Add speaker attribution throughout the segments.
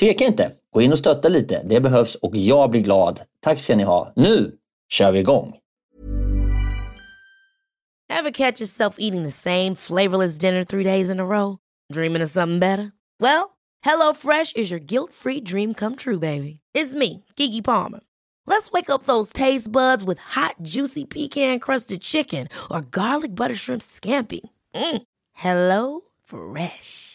Speaker 1: tveka inte. Gå in och stötta lite. Det behövs och jag blir glad. Tack ska ni ha. Nu kör vi igång!
Speaker 2: Have catch yourself eating the same flavorless dinner three days in a row? Dreaming of something better? Well, hello fresh is your guilt free dream come true baby. It's me, Gigi Palmer. Let's wake up those taste buds with hot juicy pecan crusted chicken or garlic butter shrimp scampi. Mm. Hello Fresh.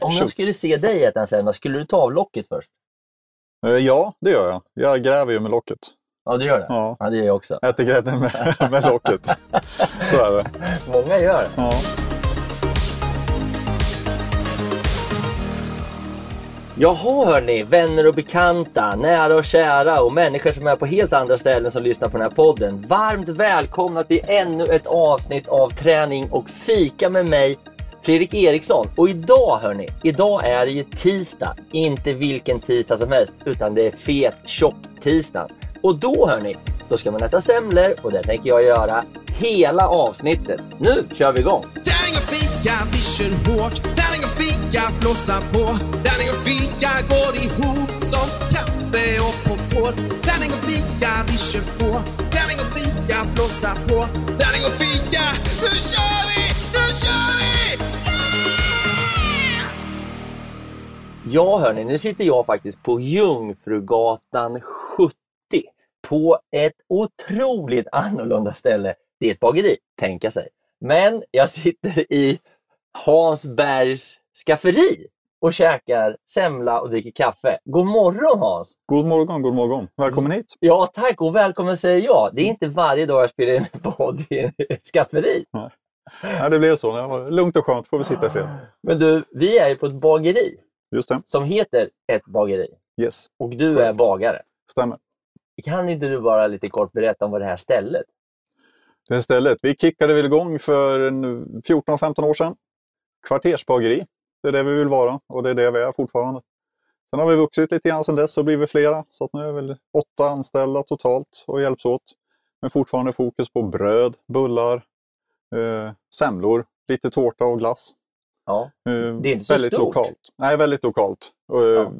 Speaker 1: Om jag skulle se dig äta en semla, skulle du ta av locket först?
Speaker 3: Eh, Ja, det gör jag. Jag gräver ju med locket.
Speaker 1: Ja, du gör det?
Speaker 3: Ja.
Speaker 1: det gör jag också.
Speaker 3: Äter grädden med, med locket. Så är det.
Speaker 1: Många gör det.
Speaker 3: Ja.
Speaker 1: Jaha hörni, vänner och bekanta, nära och kära och människor som är på helt andra ställen som lyssnar på den här podden. Varmt välkomna till ännu ett avsnitt av Träning och fika med mig Fredrik Eriksson. Och idag hörni, idag är det ju tisdag. Inte vilken tisdag som helst, utan det är fet tjock tisdag. Och då hörni, då ska man äta semlor och det tänker jag göra hela avsnittet. Nu kör vi igång!
Speaker 4: Tärning och fika, vi kör hårt. Tärning och fika, blåsa på. Tärning och fika går ihop som kaffe och popcorn. Tärning och fika, vi kör på. Tärning och fika, blåsa på. Tärning och fika, nu kör vi! Nu kör vi!
Speaker 1: Ja hörni, nu sitter jag faktiskt på Jungfrugatan 70 på ett otroligt annorlunda ställe. Det är ett bageri, tänka sig. Men jag sitter i Hans Bergs skafferi och käkar semla och dricker kaffe. God morgon Hans!
Speaker 3: God morgon, god morgon. Välkommen hit.
Speaker 1: Ja tack och välkommen säger jag. Det är inte varje dag jag spelar in en podd i ett skafferi.
Speaker 3: Nej, det blev så. Det var lugnt och skönt. får vi sitta i fred.
Speaker 1: Men du, vi är ju på ett bageri
Speaker 3: Just det.
Speaker 1: som heter ett bageri
Speaker 3: Yes,
Speaker 1: och du är
Speaker 3: Korrekt.
Speaker 1: bagare.
Speaker 3: stämmer.
Speaker 1: Kan inte du bara lite kort berätta om vad det här stället
Speaker 3: Det här stället. Vi kickade väl igång för en 14-15 år sedan. Kvartersbageri. Det är det vi vill vara och det är det vi är fortfarande. Sen har vi vuxit lite grann sedan dess och blivit flera. Så att nu är väl åtta anställda totalt och hjälps åt. Men fortfarande fokus på bröd, bullar, eh, semlor, lite tårta och glass.
Speaker 1: Ja,
Speaker 3: Eh,
Speaker 1: är inte så
Speaker 3: väldigt
Speaker 1: stort.
Speaker 3: lokalt. Nej, väldigt lokalt. Och, eh,
Speaker 1: Ja.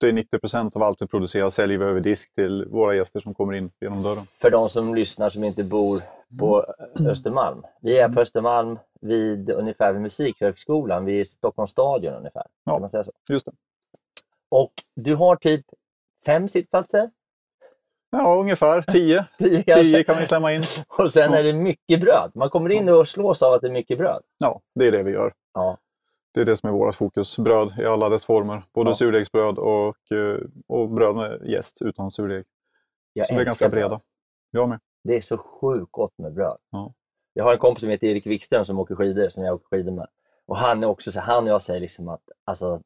Speaker 3: 80-90 procent av allt vi producerar säljer vi över disk till våra gäster som kommer in genom dörren.
Speaker 1: för de som lyssnar som inte bor
Speaker 3: Mm.
Speaker 1: på eh, Östermalm. Vi är på Östermalm vid ungefär vid Musikhögskolan, vid Stockholms stadion ungefär.
Speaker 3: Ja.
Speaker 1: Kan man säga så?
Speaker 3: Just det.
Speaker 1: Och du har typ fem sittplatser?
Speaker 3: Ja, ungefär tio.
Speaker 1: Tio
Speaker 3: Tio
Speaker 1: kanske.
Speaker 3: kan vi klämma in.
Speaker 1: Och sen är det mycket bröd. Man kommer in och slås av att det är mycket bröd.
Speaker 3: Ja, det är det vi gör.
Speaker 1: Ja.
Speaker 3: Det är det som är vårt fokus. Bröd i alla dess former. Både
Speaker 1: Ja.
Speaker 3: surdegsbröd och, eh, och bröd med jäst utan surdeg.
Speaker 1: Jag
Speaker 3: Så vi är
Speaker 1: älskar
Speaker 3: ganska
Speaker 1: bröd.
Speaker 3: breda. Jag med.
Speaker 1: Det är så sjukt gott med bröd.
Speaker 3: Ja.
Speaker 1: Jag har en kompis som heter Erik Wikström som åker skidor, som jag åker skidor med. Och han, är också, så han och jag säger liksom att alltså,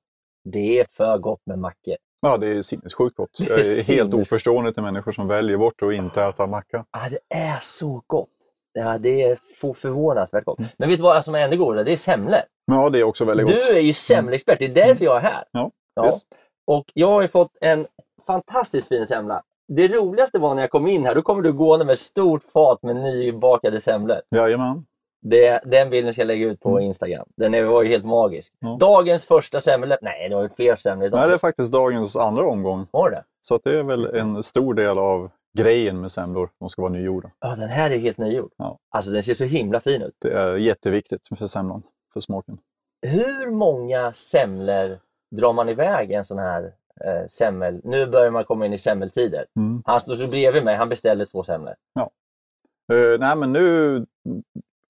Speaker 1: det är för gott med mackor.
Speaker 3: Ja, det är sinnessjukt gott.
Speaker 1: Det är
Speaker 3: Jag är helt
Speaker 1: sinnessjukt.
Speaker 3: oförstående till människor som väljer bort att inte äta macka.
Speaker 1: Ah, det är så gott! Ja, det är for- förvånansvärt gott. Men vet du vad alltså, som är ännu godare? Det är semlor.
Speaker 3: Men ja, det är också Mm. väldigt gott.
Speaker 1: Du är ju semleexpert, det är därför jag är här.
Speaker 3: Ja, yes.
Speaker 1: Och jag har ju fått en fantastiskt fin semla. Det roligaste var när jag kom in här, då kommer du gående med ett stort fat med nybakade semlor.
Speaker 3: Jajamän.
Speaker 1: Det, den bilden ska jag lägga ut på Instagram. Den är, var ju helt magisk.
Speaker 3: Mm. Ja.
Speaker 1: Dagens första semla. Nej, det har ju fler semlor idag.
Speaker 3: Nej, det är faktiskt dagens andra omgång.
Speaker 1: Var det?
Speaker 3: Så att det är väl en stor del av grejen med semlor. De ska vara nygjorda.
Speaker 1: Ja, den här är ju helt nygjord.
Speaker 3: Ja.
Speaker 1: Alltså den ser så himla fin ut.
Speaker 3: Det är jätteviktigt för semlan, för smaken.
Speaker 1: Hur många semlor drar man iväg en sån här eh, semmel? Nu börjar man komma in i semmeltider.
Speaker 3: Mm.
Speaker 1: Han står så bredvid mig, han beställer två semlor.
Speaker 3: Eh, nej, men nu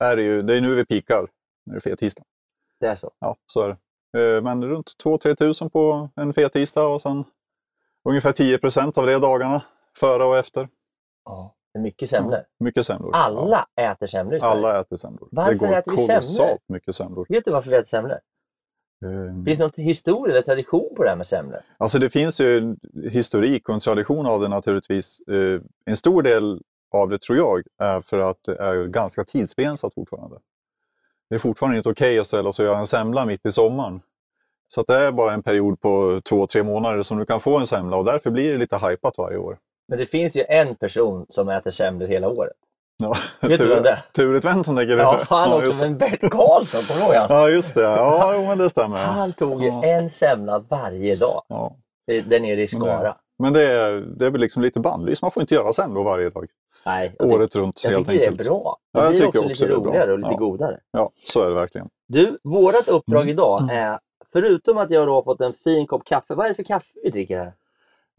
Speaker 3: är det ju, det är nu vi pikar. Nu är det fet tisdag.
Speaker 1: Det är så.
Speaker 3: Ja, så är det. Eh, men runt 2-3 tusen på en fet tisdag och sen ungefär 10 procent av det dagarna före och efter.
Speaker 1: Ja. Det är mycket semlor.
Speaker 3: Mycket semlor.
Speaker 1: Alla äter semlor i
Speaker 3: Ja,
Speaker 1: Sverige.
Speaker 3: alla äter semlor.
Speaker 1: Varför
Speaker 3: det går
Speaker 1: äter vi semlor?
Speaker 3: kolossalt mycket semlor.
Speaker 1: Vet du varför vi äter semlor?
Speaker 3: Mm. Eh,
Speaker 1: Finns det någon historia eller tradition på det här med semlor?
Speaker 3: Alltså det finns ju en historik och en tradition av det naturligtvis. Eh, En stor del av det tror jag är för att det är ganska tidsbegränsat fortfarande. Det är fortfarande inte okej att ställa sig och göra en semla mitt i sommaren. Så att det är bara en period på två, tre månader som du kan få en semla och därför blir det lite hajpat varje år.
Speaker 1: Men det finns ju en person som äter semlor hela året.
Speaker 3: Ja,
Speaker 1: Vet du vem det är?
Speaker 3: Turet Venton tänker du?
Speaker 1: Ja, han också,
Speaker 3: just det.
Speaker 1: men Bert Karlsson, kommer du ihåg han?
Speaker 3: Ja, just det. Ja, jo, men det stämmer.
Speaker 1: Han tog ju
Speaker 3: Ja.
Speaker 1: en semla varje dag.
Speaker 3: Ja.
Speaker 1: Den nere i Skara.
Speaker 3: Men det är, det är väl liksom lite bannlyst. Man får inte göra semlor varje dag,
Speaker 1: Nej, jag,
Speaker 3: året runt
Speaker 1: tycker- jag
Speaker 3: helt
Speaker 1: tycker det är
Speaker 3: enkelt.
Speaker 1: bra.
Speaker 3: Ja,
Speaker 1: Det
Speaker 3: jag
Speaker 1: blir
Speaker 3: tycker
Speaker 1: också
Speaker 3: också
Speaker 1: lite
Speaker 3: det är bra.
Speaker 1: roligare och lite
Speaker 3: Ja.
Speaker 1: godare.
Speaker 3: Ja, så är det verkligen.
Speaker 1: Du, vårt uppdrag
Speaker 3: Mm.
Speaker 1: idag
Speaker 3: Mm.
Speaker 1: är, förutom att jag då har fått en fin kopp kaffe, vad är det för kaffe vi dricker här?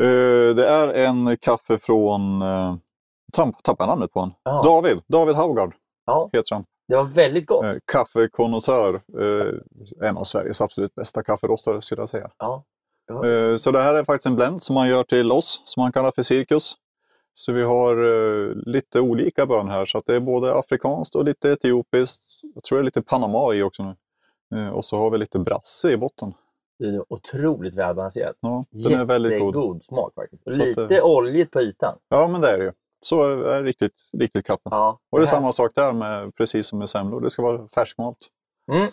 Speaker 3: Eh, det är en kaffe från... Uh, tamp, tappar jag namnet på honom.
Speaker 1: Ja.
Speaker 3: David. David Haugard
Speaker 1: Ja,
Speaker 3: heter han.
Speaker 1: det var väldigt gott.
Speaker 3: Uh, Kaffekonnässör. eh, en av Sveriges absolut bästa kafferostare skulle jag säga.
Speaker 1: Ja. Ja.
Speaker 3: Eh, så det här är faktiskt en blend som man gör till oss, som man kallar för cirkus. Så vi har eh, lite olika bön här, så att det är både afrikanskt och lite etiopiskt. Jag tror det är lite Panama i också nu. Eh, och så har vi lite brasse i botten.
Speaker 1: Det är otroligt välbalanserat.
Speaker 3: Ja, den är väldigt god.
Speaker 1: Jättegod smak faktiskt. Och
Speaker 3: Så att,
Speaker 1: lite
Speaker 3: eh,
Speaker 1: oljigt på ytan.
Speaker 3: Ja, men det är det ju. Så är, är riktigt, riktigt kaffe.
Speaker 1: Ja,
Speaker 3: Och det är
Speaker 1: här-
Speaker 3: samma sak där, med, precis som med semlor. Det ska vara färskmalt.
Speaker 1: Mm.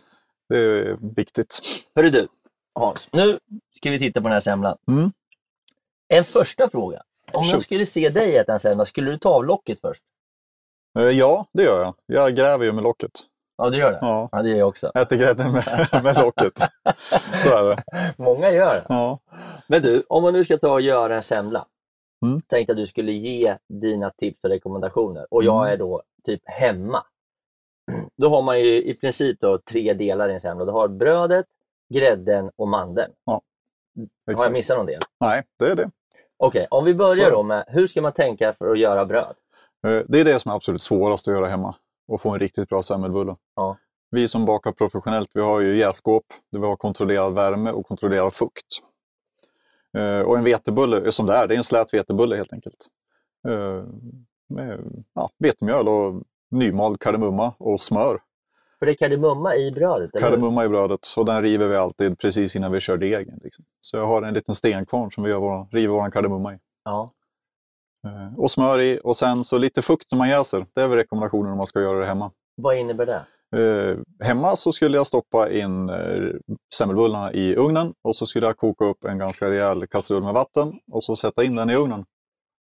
Speaker 3: Det är viktigt.
Speaker 1: Hörru du, Hans. Nu ska vi titta på den här semlan.
Speaker 3: Mm.
Speaker 1: En första fråga. Om jag
Speaker 3: Shoot.
Speaker 1: skulle se dig äta en semla, skulle du ta av locket först?
Speaker 3: Eh, Ja, det gör jag. Jag gräver ju med locket.
Speaker 1: Ja, du gör det?
Speaker 3: Ja.
Speaker 1: det gör jag också.
Speaker 3: Äter grädden med, med locket. Så är det.
Speaker 1: Många gör det.
Speaker 3: Ja.
Speaker 1: Men du, om man nu ska ta och göra en semla.
Speaker 3: Mm.
Speaker 1: Tänkte att du skulle ge dina tips och rekommendationer. Och jag
Speaker 3: Mm.
Speaker 1: är då typ hemma. Då har man ju i princip då tre delar i en semla. Du har brödet, grädden och mandeln. Har jag
Speaker 3: Exakt.
Speaker 1: missat någon del?
Speaker 3: Nej, det är det.
Speaker 1: Okej, om vi börjar
Speaker 3: Så.
Speaker 1: då med hur ska man tänka för att göra bröd?
Speaker 3: Eh, Det är det som är absolut svårast att göra hemma. Att få en riktigt bra semmelbulle.
Speaker 1: Ja.
Speaker 3: Vi som bakar professionellt, vi har ju jässkåp där vi har kontrollerad värme och kontrollerad fukt. Eh, Och en vetebulle, är som det är, det är en slät vetebulle helt enkelt. Eh, Med ja, vetemjöl och nymald kardemumma och smör.
Speaker 1: För det är kardemumma i brödet, eller hur?
Speaker 3: Kardemumma i brödet och den river vi alltid precis innan vi kör degen. Liksom. Så jag har en liten stenkvarn som vi gör våran, river vår kardemumma i.
Speaker 1: Ja.
Speaker 3: Eh, Och smör i och sen så lite fukt när man jäser. Det är väl rekommendationen om man ska göra det hemma.
Speaker 1: Vad innebär det?
Speaker 3: Eh, hemma så skulle jag stoppa in eh, semmelbullarna i ugnen och så skulle jag koka upp en ganska rejäl kastrull med vatten och så sätta in den i ugnen.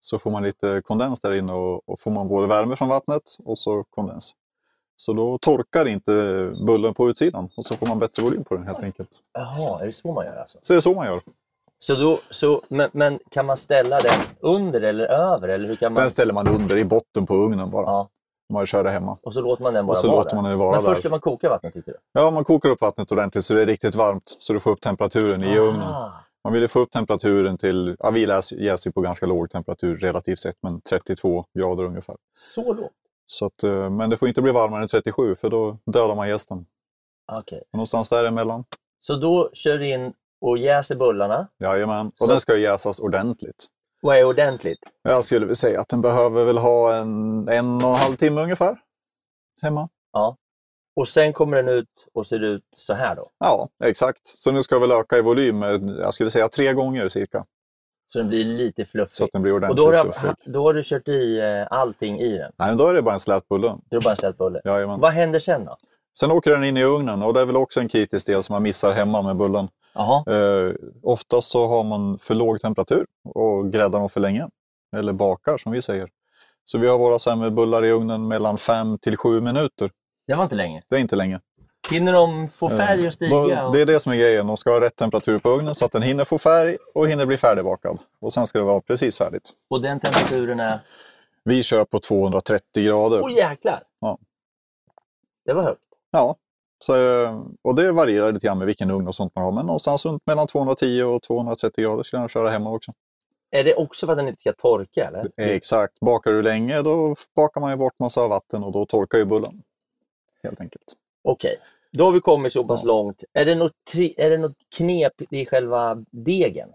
Speaker 3: Så får man lite kondens där inne och, och får man både värme från vattnet och så kondens. Så då torkar inte bullen på utsidan och så får man bättre volym på den helt enkelt.
Speaker 1: Jaha, är det så man gör alltså?
Speaker 3: Så det är så man gör.
Speaker 1: Så då, så, men, men kan man ställa den under eller över? Eller hur kan man...
Speaker 3: Den ställer man under i botten på ugnen bara.
Speaker 1: Ja.
Speaker 3: Man kör det hemma.
Speaker 1: Och så låter man den bara
Speaker 3: Och så
Speaker 1: vara
Speaker 3: låter
Speaker 1: där.
Speaker 3: man den vara
Speaker 1: Men först
Speaker 3: där.
Speaker 1: ska man koka vattnet, tycker du?
Speaker 3: Ja, man kokar upp vattnet ordentligt så det är riktigt varmt så du får upp temperaturen i ugnen.
Speaker 1: Ah,
Speaker 3: Man ville få upp temperaturen till, ja, vi jäser ju på ganska låg temperatur relativt sett, men 32 grader ungefär.
Speaker 1: Så lågt?
Speaker 3: Så att, eh, men det får inte bli varmare än 37 för då dödar man gästen.
Speaker 1: Okej.
Speaker 3: Någonstans däremellan.
Speaker 1: Så då kör du in och jäser bullarna.
Speaker 3: Jajamän. Och
Speaker 1: Så-
Speaker 3: den ska ju jäsas ordentligt.
Speaker 1: Vad är ordentligt?
Speaker 3: Jag skulle väl säga att den behöver väl ha en, en och en halv timme ungefär. Hemma.
Speaker 1: Och sen kommer den ut och ser ut så här då.
Speaker 3: Ja, exakt. Så nu ska vi öka i volym, med, jag skulle säga tre gånger cirka.
Speaker 1: Så den blir lite
Speaker 3: Så
Speaker 1: fluffig.
Speaker 3: att den blir
Speaker 1: Och
Speaker 3: ordentligt
Speaker 1: då har,
Speaker 3: fluffig.
Speaker 1: du, då har du kört i eh, allting i den.
Speaker 3: Nej, men då är det bara en slät bulle.
Speaker 1: Du har bara ställt bullen.
Speaker 3: Jajamän.
Speaker 1: Vad händer sen då?
Speaker 3: Sen åker den in i ugnen och det är väl också en kritisk del som man missar hemma med bullen.
Speaker 1: Jaha.
Speaker 3: Eh, oftast så har man för låg temperatur och gräddar dem för länge. Eller bakar som vi säger. Så vi har våra semmelbullar i ugnen mellan 5 till 7 minuter.
Speaker 1: Det var inte länge.
Speaker 3: Det är inte länge.
Speaker 1: Hinner de få färg och stiga?
Speaker 3: Då-
Speaker 1: Och...
Speaker 3: Det är det som är grejen. De ska ha rätt temperatur på ugnen så att den hinner få färg och hinner bli färdigbakad. Och sen ska det vara precis färdigt.
Speaker 1: och den temperaturen är...
Speaker 3: Vi kör på 230 grader.
Speaker 1: Åh jäklar!
Speaker 3: Ja.
Speaker 1: Det var högt.
Speaker 3: Ja, så, eh, och det varierar lite grann med vilken ugn och sånt man har. Men någonstans runt mellan 210 och 230 grader skulle jag köra hemma också.
Speaker 1: Är det också för att den inte ska torka eller?
Speaker 3: Eh, Exakt. Bakar du länge då bakar man ju bort massa vatten och då torkar ju bullen. Helt enkelt.
Speaker 1: Okej, då har vi kommit så pass
Speaker 3: Ja.
Speaker 1: långt. Är det, något tri- är det något knep i själva degen?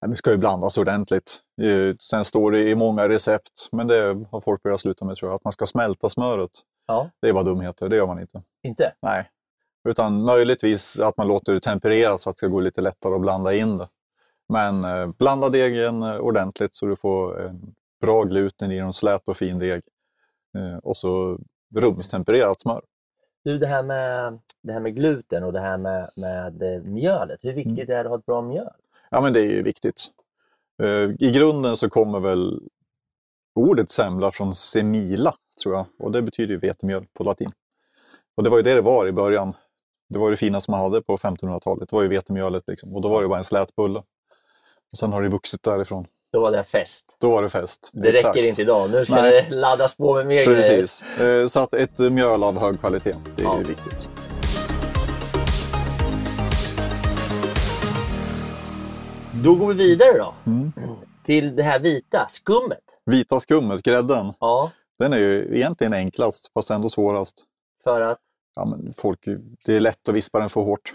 Speaker 3: Ja, Det ska ju blandas ordentligt. Eh, Sen står det i många recept, men det har folk börjat sluta med tror jag, att man ska smälta smöret.
Speaker 1: Ja,
Speaker 3: Det är bara dumheter, det gör man inte.
Speaker 1: inte?
Speaker 3: Nej. Utan möjligtvis att man låter det tempereras så att det ska gå lite lättare att blanda in det. Men eh, blanda degen eh, ordentligt så du får en bra gluten i en slät och fin deg. Eh, och så rumstempererat smör.
Speaker 1: Du, det här med, det här med gluten och det här med, med eh, mjölet. Hur viktigt
Speaker 3: Mm.
Speaker 1: är det att ha ett bra mjöl?
Speaker 3: Ja, men det är ju viktigt. Eh, I grunden så kommer väl ordet semla från semila, tror jag. Och det betyder ju vetemjöl på latin. Och det var ju det det var i början. Det var det finaste man hade på 1500-talet. Det var ju vetemjölet liksom. Och då var det bara en slät bulle. Och sen har det vuxit därifrån.
Speaker 1: Då var det fest.
Speaker 3: Då var det fest.
Speaker 1: Det
Speaker 3: Exakt.
Speaker 1: räcker inte idag. Nu ska
Speaker 3: Nej.
Speaker 1: det laddas på med mer grejer.
Speaker 3: Precis. Eh, Så att ett mjöl av hög kvalitet, det är ju viktigt.
Speaker 1: Då går vi vidare då.
Speaker 3: Mm.
Speaker 1: Till det här vita, skummet.
Speaker 3: Vita skummet, grädden,
Speaker 1: Ja,
Speaker 3: den är ju egentligen enklast, fast ändå svårast.
Speaker 1: för att...
Speaker 3: ja, men folk, det är lätt att vispa den för hårt.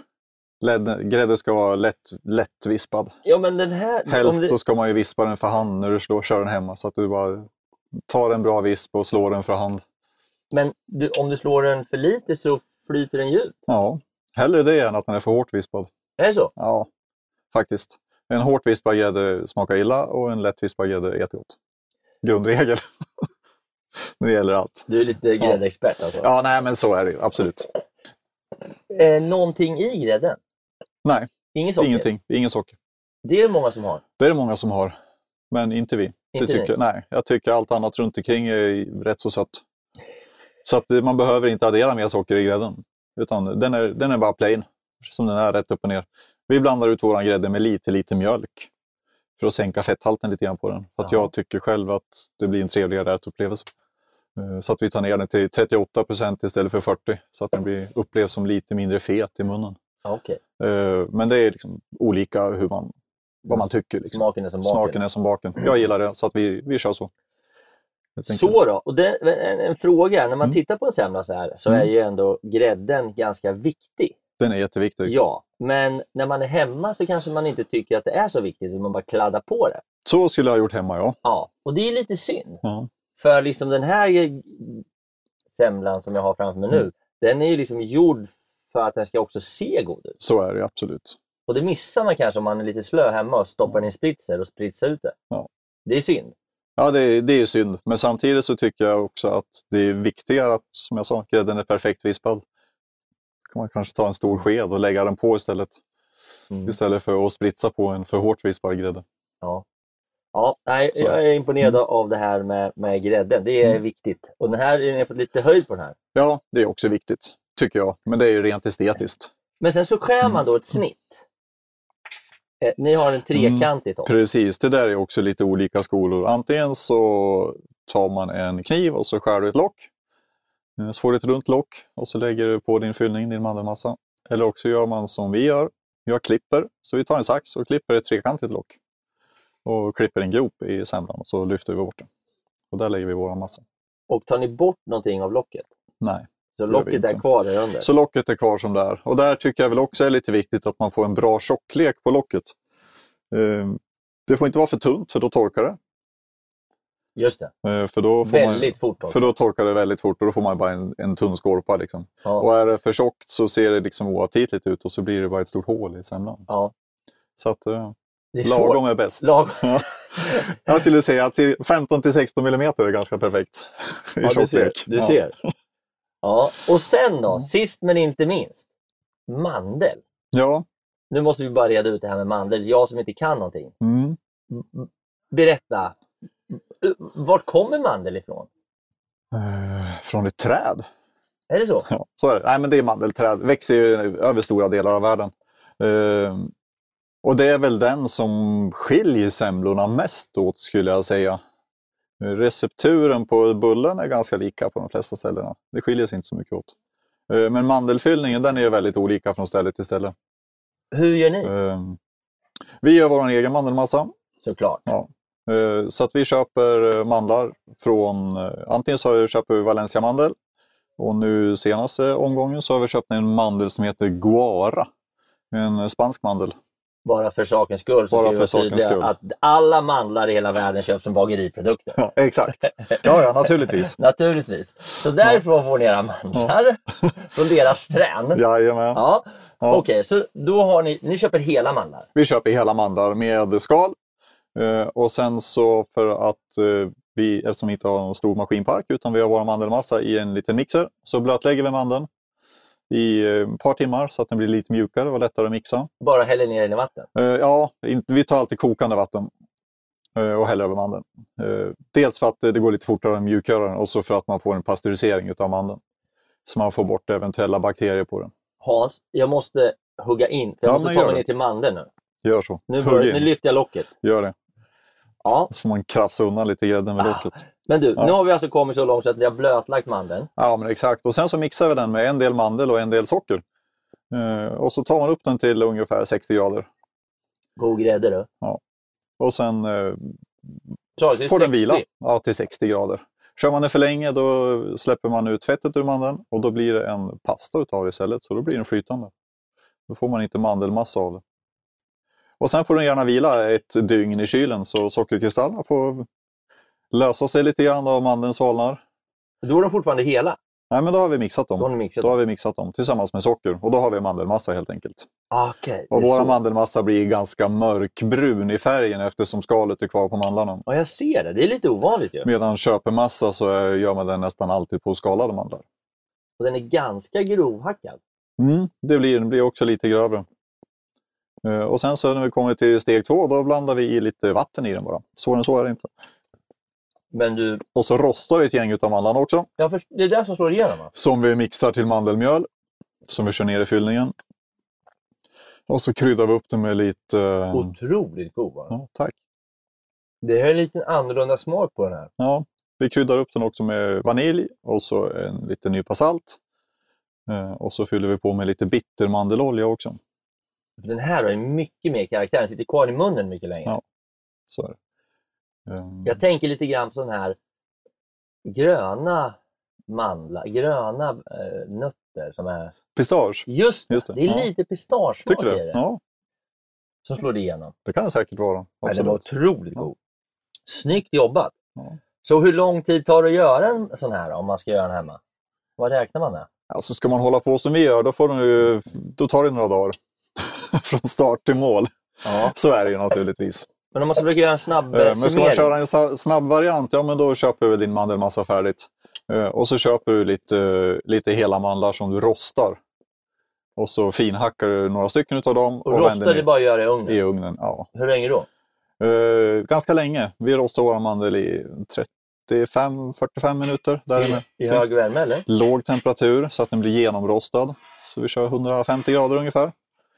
Speaker 3: Led- Grädde ska vara lätt, lätt vispad.
Speaker 1: Ja, men den här...
Speaker 3: Helst
Speaker 1: om det-
Speaker 3: så ska man ju vispa den för hand när du slår, kör den hemma så att du bara tar en bra visp och slår den för hand.
Speaker 1: Men du, om du slår den för lite så flyter den ju ut.
Speaker 3: Ja, hellre det än att den är för hårt vispad.
Speaker 1: Är det så?
Speaker 3: Ja, faktiskt. En hårt vispad grädde smakar illa och en lätt vispad grädde är jättegott. Grundregel. när det gäller allt.
Speaker 1: Du är lite gräddexpert alltså.
Speaker 3: Ja, nej men så är det ju, absolut.
Speaker 1: Eh, någonting i grädden?
Speaker 3: Nej,
Speaker 1: Inget socker?
Speaker 3: ingenting. Ingen socker.
Speaker 1: Det är det många som har.
Speaker 3: Det är det många som har, men inte vi. det
Speaker 1: Inte ni?
Speaker 3: tycker, nej, jag tycker allt annat runt omkring är rätt så sött. Så att eh, man behöver inte addera mer socker i grädden. Utan den är, den är bara plain, som den är, rätt upp och ner. Vi blandar ut vår grädde med lite, lite mjölk för att sänka fetthalten lite grann på den. För att
Speaker 1: Jaha.
Speaker 3: jag tycker själv att det blir en trevligare ätupplevelse. Eh, Så att vi tar ner den till 38 procent istället för 40 så att den blir, upplevs som lite mindre fet i munnen.
Speaker 1: Ja, Okej.
Speaker 3: Eh, Men det är liksom olika hur man, vad man tycker. Liksom.
Speaker 1: Smaken är som
Speaker 3: Snaken
Speaker 1: baken.
Speaker 3: är som baken. Jag gillar det, så att vi, vi kör så. Helt
Speaker 1: Så
Speaker 3: enkelt.
Speaker 1: då, och det, en, en fråga. När man
Speaker 3: Mm.
Speaker 1: tittar på en semla så här så
Speaker 3: Mm.
Speaker 1: är ju ändå grädden ganska viktig.
Speaker 3: Den är jätteviktig.
Speaker 1: Ja, men när man är hemma så kanske man inte tycker att det är så viktigt utan man bara kladdar på det.
Speaker 3: Så skulle jag ha gjort hemma, ja.
Speaker 1: Ja, och det är lite synd.
Speaker 3: Ja.
Speaker 1: För liksom den här semlan som jag har framför mig nu,
Speaker 3: Mm.
Speaker 1: den är ju liksom gjord för att den ska också se god ut.
Speaker 3: Så är det absolut.
Speaker 1: Och det missar man kanske om man är lite slö hemma och stoppar den i en spritzer och spritsar ut det.
Speaker 3: Ja.
Speaker 1: Det är synd.
Speaker 3: Ja, det, är- det är ju synd. Men samtidigt så tycker jag också att det är viktigare att, som jag sa, grädden är perfekt vispad. kan man kanske ta en stor sked och lägga den på istället.
Speaker 1: Mm.
Speaker 3: Istället för att spritsa på en för hårt vispad grädde.
Speaker 1: Ja, nej,
Speaker 3: Så. Mm.
Speaker 1: jag är imponerad av det här med, med grädden. Det är viktigt. Och den här, ni har fått lite höjd på den här.
Speaker 3: Ja, det är också viktigt, tycker jag. Men det är ju rent estetiskt.
Speaker 1: Men sen så skär
Speaker 3: Mm.
Speaker 1: man då ett snitt. Eh, ni har en trekantig topp.
Speaker 3: Precis, det där är också lite olika skolor. Antingen så tar man en kniv och så skär du ett lock. Eh, Så får du ett runt lock och så lägger du på din fyllning, din mandelmassa. Eller också gör man som vi gör, Jag klipper, så vi tar en sax och klipper ett trekantigt lock. Och klipper en grop i semlan och så lyfter vi bort den. Och där lägger vi våran massa.
Speaker 1: Och tar ni bort någonting av locket?
Speaker 3: Nej.
Speaker 1: Så
Speaker 3: Det
Speaker 1: locket
Speaker 3: vet
Speaker 1: är
Speaker 3: jag.
Speaker 1: kvar där under?
Speaker 3: Så locket är kvar som det är. Och där tycker jag väl också är lite viktigt att man får en bra tjocklek på locket. Eh, Det får inte vara för tunt för då torkar det.
Speaker 1: Just det.
Speaker 3: Eh, För då får
Speaker 1: Väldigt
Speaker 3: man,
Speaker 1: fort. också.
Speaker 3: För då torkar det väldigt fort och då får man bara en, en tunn skorpa. Liksom.
Speaker 1: ja.
Speaker 3: Och är det för tjockt så ser det liksom oaptitligt ut och så blir det bara ett stort hål i semlan.
Speaker 1: Ja.
Speaker 3: Så att, eh,
Speaker 1: Det är
Speaker 3: lagom
Speaker 1: svårt.
Speaker 3: är bäst.
Speaker 1: Lagom.
Speaker 3: Ja. Jag skulle säga att 15-16 millimeter är ganska perfekt i
Speaker 1: Ja, du ser.
Speaker 3: tjocklek.
Speaker 1: Du
Speaker 3: Ja.
Speaker 1: ser. Ja. Och sen då, sist men inte minst, mandel.
Speaker 3: Ja.
Speaker 1: Nu måste vi bara reda ut det här med mandel. Jag som inte kan någonting.
Speaker 3: Mm.
Speaker 1: Berätta. eh, Vart kommer mandel ifrån?
Speaker 3: Eh, Från ett träd.
Speaker 1: Är det så?
Speaker 3: Ja, så är det. Nej, men det är mandelträd. Växer ju över stora delar av världen. Ehm, och det är väl den som skiljer semlorna mest åt skulle jag säga. Recepturen på bullen är ganska lika på de flesta ställena. Det skiljer sig inte så mycket åt. Ehm, Men mandelfyllningen den är ju väldigt olika från ställe till ställe.
Speaker 1: Hur gör ni?
Speaker 3: Ehm, Vi gör vår egen mandelmassa.
Speaker 1: Såklart.
Speaker 3: Eh, Så att vi köper eh, mandlar från, eh, antingen så köper vi Valencia-mandel och nu senaste omgången så har vi köpt en mandel som heter Guara. En eh, spansk mandel.
Speaker 1: Bara för sakens skull så
Speaker 3: Bara
Speaker 1: ska vi
Speaker 3: för
Speaker 1: vara
Speaker 3: sakens
Speaker 1: tydliga
Speaker 3: skull.
Speaker 1: att alla mandlar i hela världen köps som bageriprodukter.
Speaker 3: Ja, exakt. Ja, ja, naturligtvis.
Speaker 1: Naturligtvis. Så därifrån får ni era mandlar. Från deras trän.
Speaker 3: Jajamän.
Speaker 1: Ja.
Speaker 3: Ja.
Speaker 1: Okej, så då har ni, ni köper hela mandlar.
Speaker 3: Vi köper hela mandlar med skal. Eh, Och sen så för att eh, vi, eftersom vi inte har någon stor maskinpark utan vi har vår mandelmassa i en liten mixer, så blötlägger vi mandeln i eh, ett par timmar så att den blir lite mjukare och lättare att mixa.
Speaker 1: Bara häller ner den i vatten.
Speaker 3: Eh, Ja, in- vi tar alltid kokande vatten eh, och häller över mandeln. Eh, Dels för att eh, det går lite fortare att mjukgöra den och så för att man får en pasteurisering av mandeln. Så man får bort eventuella bakterier på den.
Speaker 1: Hans, jag måste hugga in. för Jag
Speaker 3: Ja,
Speaker 1: måste
Speaker 3: men
Speaker 1: ta
Speaker 3: gör
Speaker 1: mig
Speaker 3: det.
Speaker 1: ner till mandeln nu.
Speaker 3: Gör så.
Speaker 1: Nu,
Speaker 3: Hugg
Speaker 1: börjar, nu
Speaker 3: in.
Speaker 1: lyfter jag locket.
Speaker 3: Gör det.
Speaker 1: Ja. Ah.
Speaker 3: Så får man krafsa undan lite grädden med locket.
Speaker 1: Men du,
Speaker 3: Ja.
Speaker 1: nu har vi alltså kommit så långt så att vi har blötlagt mandeln.
Speaker 3: Ja, men exakt. Och sen så mixar vi den med en del mandel och en del socker. Eh, Och så tar man upp den till ungefär 60 grader.
Speaker 1: God grädde du.
Speaker 3: Och sen eh,
Speaker 1: Klar, det är
Speaker 3: får den
Speaker 1: 60.
Speaker 3: vila ja, till 60 grader. Kör man den för länge då släpper man ut fettet ur mandeln och då blir det en pasta utav det istället, så då blir den flytande. Då får man inte mandelmassa av det. Och sen får den gärna vila ett dygn i kylen så sockerkristallerna får lösa sig lite grann och mandeln svalnar.
Speaker 1: Då är de fortfarande hela.
Speaker 3: Nej, men då har vi mixat
Speaker 1: Då har
Speaker 3: dem.
Speaker 1: ni mixat.
Speaker 3: Då har vi mixat dem tillsammans med socker och då har vi mandelmassa helt enkelt.
Speaker 1: Okej.
Speaker 3: Och
Speaker 1: det är
Speaker 3: vår
Speaker 1: så.
Speaker 3: mandelmassa blir ganska mörkbrun i färgen eftersom skalet är kvar på mandlarna.
Speaker 1: Ja, jag ser det. Det är lite ovanligt ju.
Speaker 3: Medan köpemassa så är- gör man den nästan alltid på skalade mandlar.
Speaker 1: Och den är ganska grovhackad.
Speaker 3: Mm, det blir, den blir också lite grövre. Eh, Och sen så när vi kommer till steg två, då blandar vi i lite vatten i den bara. Svårare än så är det inte.
Speaker 1: Men du,
Speaker 3: Och så rostar vi ett gäng utav mandlarna också,
Speaker 1: jag först- det är där som slår igenom va?
Speaker 3: som vi mixar till mandelmjöl, som vi kör ner i fyllningen. Och så kryddar vi upp det med lite... eh,
Speaker 1: Otroligt god va?
Speaker 3: Ja, tack.
Speaker 1: Det är en liten annorlunda smak på den här.
Speaker 3: Ja, vi kryddar upp den också med vanilj och så en liten nypa salt. Eh, Och så fyller vi på med lite bittermandelolja också.
Speaker 1: Den här har ju mycket mer karaktär. Den sitter kvar i munnen mycket längre.
Speaker 3: Ja. Så är det. Ehm,
Speaker 1: Jag tänker lite grann på sådana här gröna mandlar, gröna eh, nötter som är...
Speaker 3: Pistage,
Speaker 1: Just det!
Speaker 3: Just
Speaker 1: det.
Speaker 3: det,
Speaker 1: är
Speaker 3: ja.
Speaker 1: lite pistagesmak
Speaker 3: tycker
Speaker 1: i
Speaker 3: du?
Speaker 1: det
Speaker 3: Ja,
Speaker 1: som slår det igenom.
Speaker 3: det kan det säkert vara.
Speaker 1: Nej, den
Speaker 3: Absolut.
Speaker 1: var otroligt
Speaker 3: Ja.
Speaker 1: god. Snyggt jobbat!
Speaker 3: Ja.
Speaker 1: Så hur lång tid tar det att göra en sån här om man ska göra den hemma? Vad räknar man med?
Speaker 3: Alltså, ska man hålla på som vi gör, då, får den ju, då tar det några dagar. Från start till mål.
Speaker 1: Ja.
Speaker 3: Så är det ju naturligtvis.
Speaker 1: Men om man ska försöka göra en snabb eh,
Speaker 3: Eh, Men ska man
Speaker 1: summering.
Speaker 3: köra en sa- snabb variant, ja men då köper du din mandelmassa färdigt. Eh, Och så köper du lite, eh, lite hela mandlar som du rostar. Och så finhackar du några stycken utav dem
Speaker 1: Och
Speaker 3: och, vänder
Speaker 1: rosta, det är
Speaker 3: ner
Speaker 1: bara att göra i ugnen.
Speaker 3: i ugnen. Ja.
Speaker 1: Hur länge då?
Speaker 3: Eh, ganska länge. Vi rostar våra mandel i 35-45 minuter. Där
Speaker 1: I,
Speaker 3: med.
Speaker 1: I hög värme eller?
Speaker 3: Låg temperatur så att den blir genomrostad. Så vi kör 150 grader ungefär.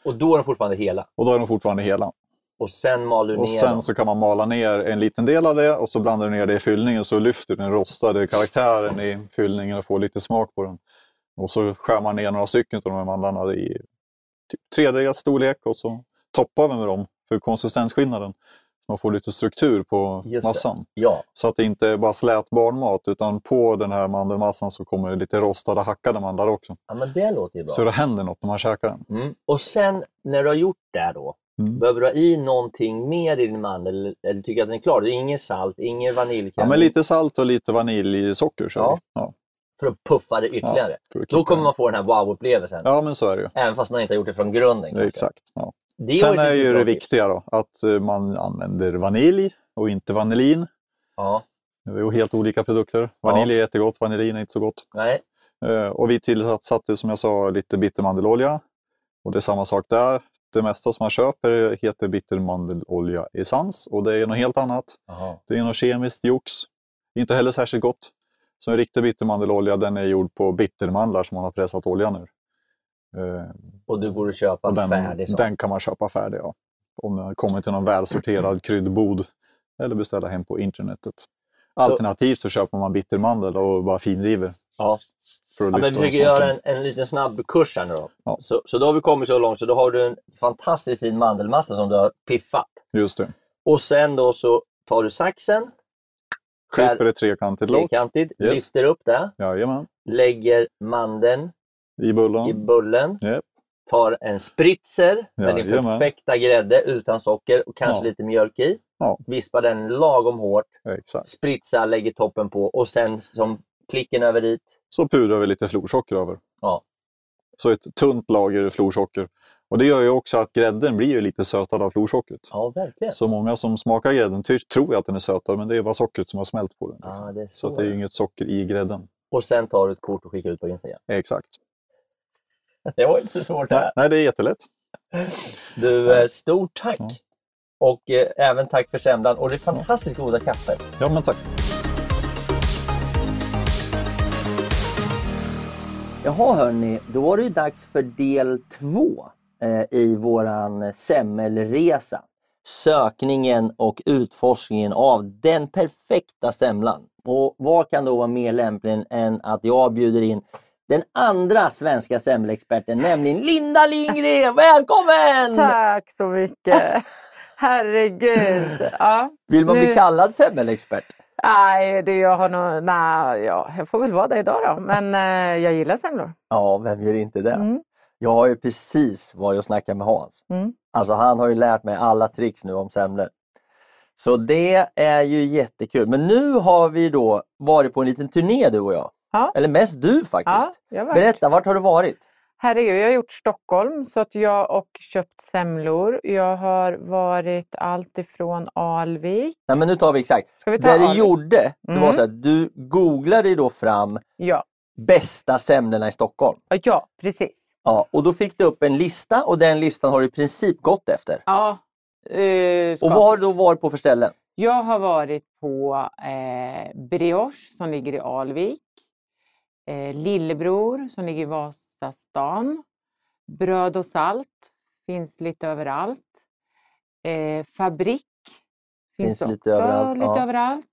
Speaker 1: Och då är de fortfarande hela.
Speaker 3: Och då är de fortfarande hela.
Speaker 1: Och sen mal du ner
Speaker 3: Och sen
Speaker 1: dem.
Speaker 3: så kan man mala ner en liten del av det och så blandar du ner det i fyllningen så lyfter du den rostade karaktären i fyllningen och får lite smak på den. Och så skär man ner några stycken av de här mandlarna i typ tredjedels storlek och så toppar vi med dem för konsistensskillnaden. Man får lite struktur på
Speaker 1: Just det.
Speaker 3: massan.
Speaker 1: Ja,
Speaker 3: Så att det inte är bara slät barnmat utan på den här mandelmassan så kommer det lite rostade hackade mandlar också.
Speaker 1: ja men det låter ju bra.
Speaker 3: Så det händer något när man käkar den.
Speaker 1: Mm. Och sen när du har gjort det här då,
Speaker 3: Mm.
Speaker 1: behöver du ha i någonting mer i din mandel eller- eller tycker du att den är klar? Det är inget salt, ingen
Speaker 3: Ja,
Speaker 1: vaniljkräm
Speaker 3: men lite salt och lite vaniljsocker kör
Speaker 1: Ja.
Speaker 3: vi. Ja,
Speaker 1: för att puffa det ytterligare.
Speaker 3: för att
Speaker 1: då
Speaker 3: kicka
Speaker 1: kommer
Speaker 3: den.
Speaker 1: man få den här wow-upplevelsen.
Speaker 3: Ja, men så är det ju.
Speaker 1: Även fast man inte har gjort det från grunden.
Speaker 3: Det är
Speaker 1: kanske.
Speaker 3: exakt. Ja.
Speaker 1: Det
Speaker 3: Sen
Speaker 1: ett
Speaker 3: är
Speaker 1: riktigt
Speaker 3: ju
Speaker 1: bra
Speaker 3: det
Speaker 1: tips.
Speaker 3: viktiga då, att eh, man använder vanilj och inte vanillin.
Speaker 1: Ja,
Speaker 3: Det är ju helt olika produkter. Vanilj är jättegott, vanillin är inte så gott.
Speaker 1: nej.
Speaker 3: Eh, Och vi tillsatte som jag sa lite bittermandelolja. Och det är samma sak där. Det mesta som man köper heter bittermandelolja essens och det är något helt annat.
Speaker 1: Jaha.
Speaker 3: Det är något kemiskt jox. Inte heller särskilt gott. Så en riktig bittermandelolja den är gjord på bittermandlar som man har pressat oljan ur. Eh,
Speaker 1: Och du går och köper
Speaker 3: och
Speaker 1: en
Speaker 3: den,
Speaker 1: färdig sån.
Speaker 3: den kan man köpa färdig ja. om den kommer till någon välsorterad kryddbod eller beställa hem på internetet. Alternativt så köper man bittermandel och bara finriver.
Speaker 1: Ja.
Speaker 3: För att
Speaker 1: Ja, men vi
Speaker 3: lyfta
Speaker 1: försöker
Speaker 3: smaken.
Speaker 1: göra en, en liten snabb kurs här nu då.
Speaker 3: Ja.
Speaker 1: Så, så då har vi kommit så långt så då har du en fantastiskt fin mandelmassa som du har piffat.
Speaker 3: Just det.
Speaker 1: Och sen då så tar du saxen, skär
Speaker 3: Klipper ett trekantigt lock.
Speaker 1: fyrkantigt,
Speaker 3: Yes.
Speaker 1: lyfter upp det,
Speaker 3: Jajamän.
Speaker 1: lägger mandeln
Speaker 3: I bullen.
Speaker 1: i bullen,
Speaker 3: Japp.
Speaker 1: tar en spritzer med din
Speaker 3: Jajamän.
Speaker 1: perfekta grädde utan socker och kanske
Speaker 3: Ja.
Speaker 1: lite mjölk i.
Speaker 3: Ja.
Speaker 1: Vispar den lagom hårt,
Speaker 3: Exakt.
Speaker 1: spritsar, lägger toppen på och sen som klicken över dit.
Speaker 3: Så pudrar vi lite florsocker över.
Speaker 1: Ja.
Speaker 3: Så ett tunt lager florsocker. Och det gör ju också att grädden blir ju lite sötad av florsockret.
Speaker 1: Ja, verkligen.
Speaker 3: Så många som smakar grädden ty- tror ju att den är sötad, men det är bara sockret som har smält på den. liksom.
Speaker 1: Ah, det är så.
Speaker 3: så att det är ju inget socker i grädden.
Speaker 1: Och sen tar du ett kort och skickar ut på Instagram.
Speaker 3: Exakt.
Speaker 1: Det var inte så svårt det
Speaker 3: Nej,
Speaker 1: här.
Speaker 3: nej, det är jättelätt.
Speaker 1: Du, eh, stort tack!
Speaker 3: Ja.
Speaker 1: Och eh, även tack för sändaren och det är fantastiskt goda kaffe.
Speaker 3: Ja, men tack.
Speaker 1: Jaha hörni, då var det ju dags för del två eh, i våran semmelresa. Sökningen och utforskningen av den perfekta semlan. Och vad kan då vara mer lämpligt än att jag bjuder in den andra svenska semmelexperten, nämligen Linda Lindgren. Välkommen!
Speaker 5: Tack så mycket. Herregud. Ja.
Speaker 1: Vill man bli
Speaker 5: Nu-
Speaker 1: kallad semmelexpert?
Speaker 5: Nej, det jag har nog... Nej, ja, jag får väl vara det idag då. Men eh, jag gillar semlor.
Speaker 1: Ja, vem gör inte det?
Speaker 5: Mm.
Speaker 1: Jag har ju precis varit och snackat med Hans.
Speaker 5: Mm.
Speaker 1: Alltså han har ju lärt mig alla tricks nu om semlor. Så det är ju jättekul. Men nu har vi då varit på en liten turné du och jag.
Speaker 5: Ja.
Speaker 1: Eller mest du
Speaker 5: Ja,
Speaker 1: faktiskt.
Speaker 5: jag var.
Speaker 1: Berätta, vart har du varit?
Speaker 5: Herregud, jag har gjort Stockholm så att jag och köpt semlor. Jag har varit allt ifrån Alvik.
Speaker 1: Nej men nu tar vi exakt.
Speaker 5: Ska vi ta
Speaker 1: Det du
Speaker 5: Alvik?
Speaker 1: gjorde, det var
Speaker 5: Mm.
Speaker 1: så att du googlade ju då fram
Speaker 5: Ja.
Speaker 1: bästa semlorna i Stockholm.
Speaker 5: ja, precis.
Speaker 1: Ja, och då fick du upp en lista och den listan har du i princip gått efter.
Speaker 5: Ja. eh,
Speaker 1: Och
Speaker 5: skapligt.
Speaker 1: vad har du då varit på för ställen?
Speaker 5: Jag har varit på eh, Brioche som ligger i Alvik. Eh, Lillebror som ligger i Vasastan. Bröd och salt finns lite överallt. Eh, fabrik finns,
Speaker 1: Finns lite
Speaker 5: också
Speaker 1: överallt,
Speaker 5: lite
Speaker 1: ja.
Speaker 5: överallt.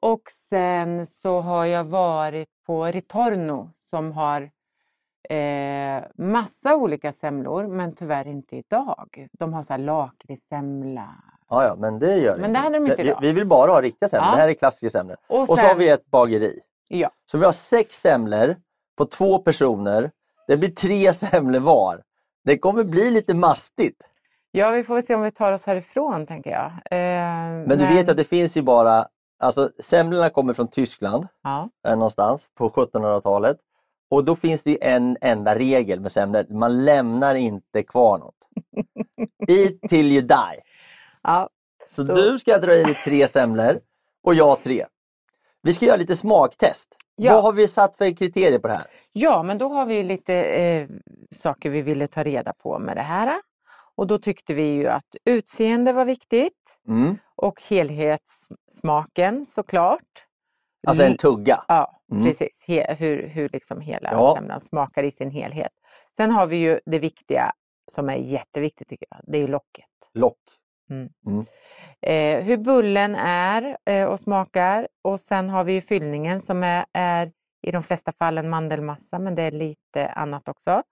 Speaker 5: Och sen så har jag varit på Ritorno som har eh, massa olika semlor men tyvärr inte idag. De har så här lakritssemla.
Speaker 1: Ja, ja, men det gör
Speaker 5: Men det hade de inte
Speaker 1: Vi-
Speaker 5: idag.
Speaker 1: Vi vill bara ha riktiga semlor.
Speaker 5: Ja.
Speaker 1: Det här är klassiska semlor. Och så
Speaker 5: sen-
Speaker 1: har vi ett bageri.
Speaker 5: Ja.
Speaker 1: Så vi har sex semlor på två personer. Det blir tre semlor var. Det kommer bli lite mastigt.
Speaker 5: Ja, vi får väl se om vi tar oss härifrån, tänker jag. Eh,
Speaker 1: Men, du vet ju att det finns ju bara... Alltså semlorna kommer från Tyskland
Speaker 5: Ja,
Speaker 1: eh, någonstans på 1700-talet. Och då finns det ju en enda regel med semlor. Man lämnar inte kvar något. Eat till you die.
Speaker 5: ja,
Speaker 1: Så
Speaker 5: Då-
Speaker 1: du ska dra i dig tre semlor och jag tre. Vi ska göra lite smaktest.
Speaker 5: Ja.
Speaker 1: Vad har vi satt för kriterier på det här?
Speaker 5: ja, men då har vi ju lite eh, saker vi ville ta reda på med det här. Och då tyckte vi ju att utseende var viktigt
Speaker 1: Mm.
Speaker 5: och helhetssmaken såklart.
Speaker 1: Alltså en
Speaker 5: L-
Speaker 1: tugga.
Speaker 5: Ja,
Speaker 1: Mm.
Speaker 5: precis. He- hur, hur liksom hela
Speaker 1: Ja.
Speaker 5: semlan smakar i sin helhet. Sen har vi ju det viktiga som är jätteviktigt tycker jag. Det är ju locket.
Speaker 1: Lock.
Speaker 5: eh, hur bullen är eh, och smakar. Och sen har vi ju fyllningen som är, är i de flesta fallen mandelmassa, men det är lite annat också.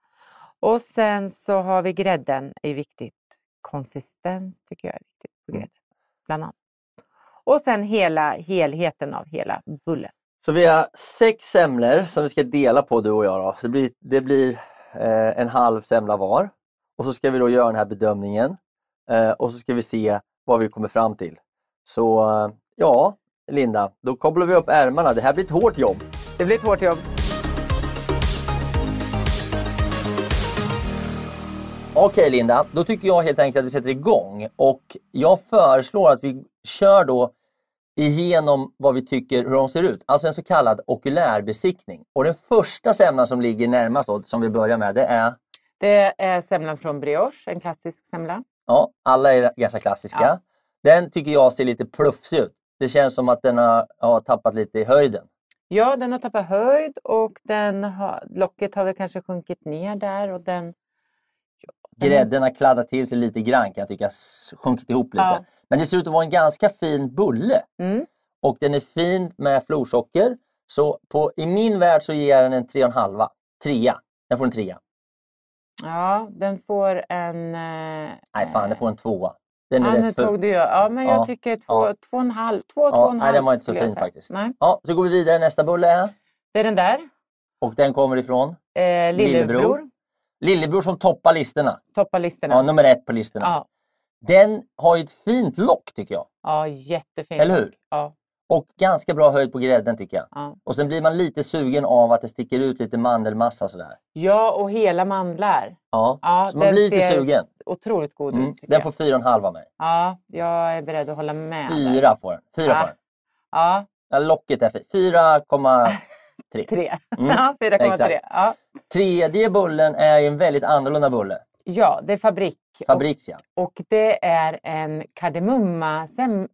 Speaker 5: Och sen så har vi grädden, är viktigt. Konsistens tycker jag är viktigt på
Speaker 6: Mm.
Speaker 5: grädden, bland annat. Och sen hela helheten av hela bullen.
Speaker 1: Så vi har sex semlor som vi ska dela på du och jag. Då. Så det blir, det blir eh, en halv semla var. Och så ska vi då göra den här bedömningen. Eh, och så ska vi se vad vi kommer fram till. Så eh, ja, Linda, då kopplar vi upp ärmarna. Det här blir ett hårt jobb.
Speaker 5: Det blir ett hårt jobb.
Speaker 1: Okej Linda, då tycker jag helt enkelt att vi sätter igång. Och jag föreslår att vi kör då igenom vad vi tycker hur de ser ut. Alltså en så kallad okulärbesiktning. Och den första semlan som ligger närmast då, som vi börjar med, det är
Speaker 5: Det är semlan från brioche, en klassisk semla.
Speaker 1: Ja, alla är ganska klassiska.
Speaker 5: Ja.
Speaker 1: Den tycker jag ser lite plufsig ut. Det känns som att den har, har tappat lite i höjden.
Speaker 5: Ja, den har tappat höjd och den har, locket har väl kanske sjunkit ner där. Och den, Den-
Speaker 1: Grädden har kladdat till sig lite grann kan jag tycka. s- Sjunkit ihop lite.
Speaker 5: Ja.
Speaker 1: Men det ser ut att vara en ganska fin bulle.
Speaker 5: mm,
Speaker 1: Och den är fin med florsocker. Så på, i min värld så ger jag den en 3,5. Trea. Den får en trea.
Speaker 5: ja, den får en... eh,
Speaker 1: Nej fan, den får en tvåa. Den är
Speaker 5: Ja, nu
Speaker 1: rätt
Speaker 5: tog
Speaker 1: ful.
Speaker 5: du ju. Ja, men
Speaker 1: Ja,
Speaker 5: jag tycker två,
Speaker 1: ja.
Speaker 5: två och en halv. Två, två och
Speaker 1: Ja,
Speaker 5: en halv.
Speaker 1: nej, den var inte så
Speaker 5: skulle jag
Speaker 1: fin
Speaker 5: säga.
Speaker 1: faktiskt.
Speaker 5: Nej.
Speaker 1: Ja, så går vi vidare. Nästa bulle är.
Speaker 5: Det är den där.
Speaker 1: Och den kommer ifrån?
Speaker 5: Eh, lillebror.
Speaker 1: Lillebror som toppar listorna.
Speaker 5: Toppar listorna.
Speaker 1: Ja, nummer ett på listorna.
Speaker 5: ja.
Speaker 1: Den har ju ett fint lock tycker jag.
Speaker 5: ja, jättefint.
Speaker 1: Eller hur?
Speaker 5: Ja,
Speaker 1: Och ganska bra höjd på grädden tycker jag.
Speaker 5: ja.
Speaker 1: Och sen blir man lite sugen av att det sticker ut lite mandelmassa och sådär.
Speaker 5: ja, och hela mandlar.
Speaker 1: Ja,
Speaker 5: Ja,
Speaker 1: så man
Speaker 5: den
Speaker 1: blir lite
Speaker 5: ser
Speaker 1: sugen.
Speaker 5: Otroligt god
Speaker 1: Mm.
Speaker 5: ut. tycker
Speaker 1: Den
Speaker 5: jag.
Speaker 1: får fyra och en halv av mig.
Speaker 5: Ja, jag är beredd att hålla med. där.
Speaker 1: Fyra får den. Fyra
Speaker 5: Ah.
Speaker 1: får den.
Speaker 5: Ja,
Speaker 1: Ja, locket är fint. 4,3.
Speaker 5: tre.
Speaker 1: Mm.
Speaker 5: Ja, 4,3.
Speaker 1: Exakt.
Speaker 5: Ja.
Speaker 1: Tredje bullen är ju en väldigt annorlunda bulle.
Speaker 5: ja, det är fabrik.
Speaker 1: Fabriks ja.
Speaker 5: Och, och det är en kardemumma sem-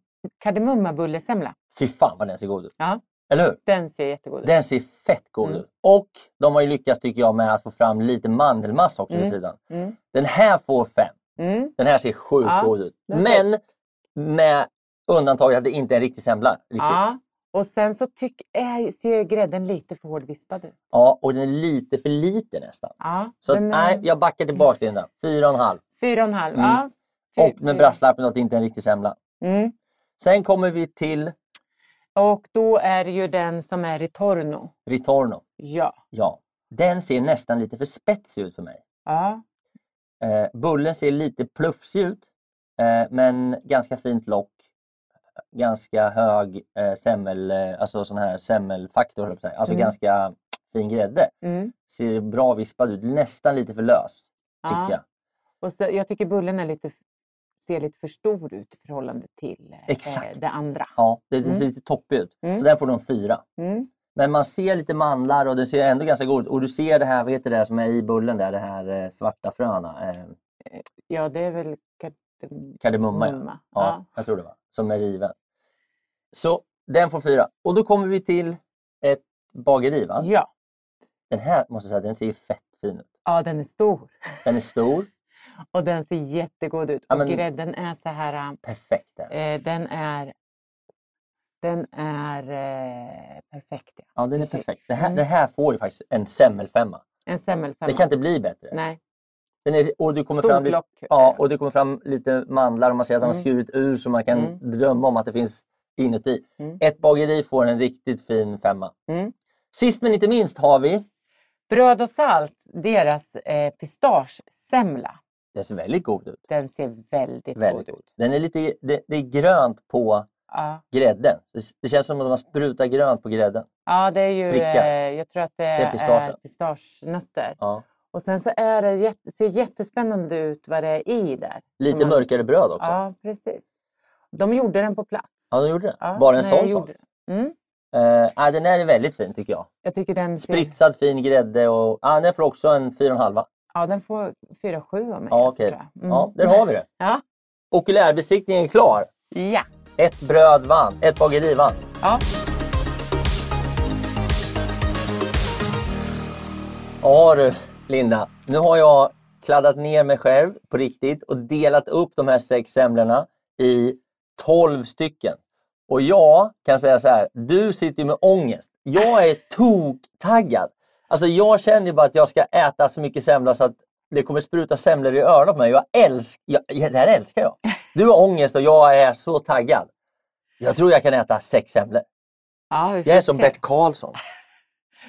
Speaker 5: kardemumma-bullesemla.
Speaker 1: Fy fan vad den ser god ut.
Speaker 5: Ja.
Speaker 1: Eller hur?
Speaker 5: Den ser jättegod ut.
Speaker 1: Den ser fett god
Speaker 5: Mm.
Speaker 1: ut. Och de har ju lyckats tycker jag med att få fram lite mandelmassa också vid
Speaker 5: Mm.
Speaker 1: sidan.
Speaker 5: Mm.
Speaker 1: Den här får fem.
Speaker 5: Mm.
Speaker 1: Den här ser sjukt
Speaker 5: Ja,
Speaker 1: god ut.
Speaker 5: den ser-
Speaker 1: Men med undantaget att det inte är en riktig semla. Riktigt. Ja.
Speaker 5: Ja. Och sen så tyck, äh, ser grädden lite för hårdvispad ut.
Speaker 1: och den är lite för liten nästan.
Speaker 5: Ja,
Speaker 1: Så att,
Speaker 5: den,
Speaker 1: nej,
Speaker 5: eh,
Speaker 1: jag backar tillbaka till den där. Fyra och en halv.
Speaker 5: Fyra och en halv.
Speaker 1: Mm.
Speaker 5: Ja, fy-
Speaker 1: Och med
Speaker 5: fy-
Speaker 1: brasklappen att det inte är en riktig semla.
Speaker 5: Mm.
Speaker 1: Sen kommer vi till
Speaker 5: Och då är det ju den som är Ritorno.
Speaker 1: Ritorno.
Speaker 5: Ja.
Speaker 1: Ja, den ser nästan lite för spetsig ut för mig.
Speaker 5: ja.
Speaker 1: Eh, bullen ser lite plufsig ut. Eh, men ganska fint lock. Ganska hög eh, semmel, eh, alltså sån här semmelfaktor. höll jag på att säga. Alltså
Speaker 5: Mm.
Speaker 1: ganska fin grädde.
Speaker 5: Mm.
Speaker 1: ser bra vispad ut. Nästan lite för lös,
Speaker 5: Ja.
Speaker 1: tycker jag.
Speaker 5: Och så, jag tycker bullen är lite, ser lite för stor ut i förhållande till eh,
Speaker 1: Exakt.
Speaker 5: det andra.
Speaker 1: Ja, det, den ser
Speaker 5: Mm.
Speaker 1: lite toppig ut.
Speaker 5: Mm.
Speaker 1: Så den får du en fyra.
Speaker 5: Mm.
Speaker 1: Men man ser lite mandlar och den ser ändå ganska god ut. Och du ser det här, vad heter det här som är i bullen där, det här eh, svarta fröna? Eh,
Speaker 5: Ja, det är väl kardemumma.
Speaker 1: kardemumma, ja.
Speaker 5: Mm. Ja.
Speaker 1: ja. Jag tror det var. Som är riven. Så den får fyra. Och då kommer vi till ett bageri va?
Speaker 5: Ja.
Speaker 1: Den här måste jag säga, den ser fett fin ut.
Speaker 5: ja, den är stor.
Speaker 1: Den är stor,
Speaker 5: Och den ser jättegod ut.
Speaker 1: Ja,
Speaker 5: Och
Speaker 1: men-
Speaker 5: grädden är så här...
Speaker 1: perfekt. Där.
Speaker 5: Eh, den är... Den är eh, perfekt. Ja.
Speaker 1: Ja, den är
Speaker 5: precis.
Speaker 1: perfekt. Det här,
Speaker 5: Mm.
Speaker 1: det här får ju faktiskt en semmelfemma.
Speaker 5: En semmelfemma.
Speaker 1: Det kan inte bli bättre.
Speaker 5: Nej.
Speaker 1: Den är, och du kommer
Speaker 5: Stort
Speaker 1: fram lite,
Speaker 5: lock.
Speaker 1: Ja, och det kommer fram lite mandlar och man ser att han har
Speaker 5: Mm.
Speaker 1: skurit ur så man kan
Speaker 5: Mm.
Speaker 1: drömma om att det finns inuti.
Speaker 5: Mm.
Speaker 1: Ett bageri får en riktigt fin femma.
Speaker 5: Mm.
Speaker 1: Sist men inte minst har vi,
Speaker 5: Bröd och salt, deras eh, pistagesemla.
Speaker 1: den ser väldigt god ut.
Speaker 5: Den ser väldigt,
Speaker 1: Väldigt
Speaker 5: god
Speaker 1: god.
Speaker 5: ut.
Speaker 1: Den är lite, det, det är grönt på
Speaker 5: Ja.
Speaker 1: grädden. Det, det känns som att man sprutar grönt på grädden.
Speaker 5: ja, det är ju...
Speaker 1: Prickar.
Speaker 5: Eh, jag tror att det,
Speaker 1: är pistagen.
Speaker 5: är pistagenötter.
Speaker 1: Ja.
Speaker 5: Och sen så är det jätte, ser jättespännande ut vad det är i där.
Speaker 1: Lite
Speaker 5: Som man-
Speaker 1: mörkare bröd också. Ja.
Speaker 5: Ja, precis. De gjorde den på plats.
Speaker 1: de gjorde det.
Speaker 5: Ja,
Speaker 1: Bara en
Speaker 5: när
Speaker 1: sån
Speaker 5: jag
Speaker 1: sak.
Speaker 5: gjorde det. Mm.
Speaker 1: Eh, nej, den här är väldigt fin tycker jag.
Speaker 5: Jag tycker den ser...
Speaker 1: Spritsad fin grädde och ah, den får också en 4,5.
Speaker 5: Ja, den får 4,7 av mig.
Speaker 1: Ja,
Speaker 5: alltså,
Speaker 1: okej.
Speaker 5: tror jag. Mm.
Speaker 1: Ja, där har vi det.
Speaker 5: Ja.
Speaker 1: Okulärbesiktningen är klar.
Speaker 5: Ja.
Speaker 1: Ett bröd vann, ett bageri vann.
Speaker 5: ja.
Speaker 1: Ja du, Linda. Nu har jag kladdat ner mig själv på riktigt och delat upp de här sex semlorna i 12 stycken. Och jag kan säga så här, du sitter ju med ångest. Jag är toktaggad. Alltså jag känner ju bara att jag ska äta så mycket semla så att det kommer spruta semlor i öronen på mig. Jag älsk, jag, det här älskar jag. Du har ångest och jag är så taggad. Jag tror jag kan äta sex semlor.
Speaker 5: Ja, vi
Speaker 1: Jag är
Speaker 5: får
Speaker 1: som
Speaker 5: se.
Speaker 1: Bert Karlsson.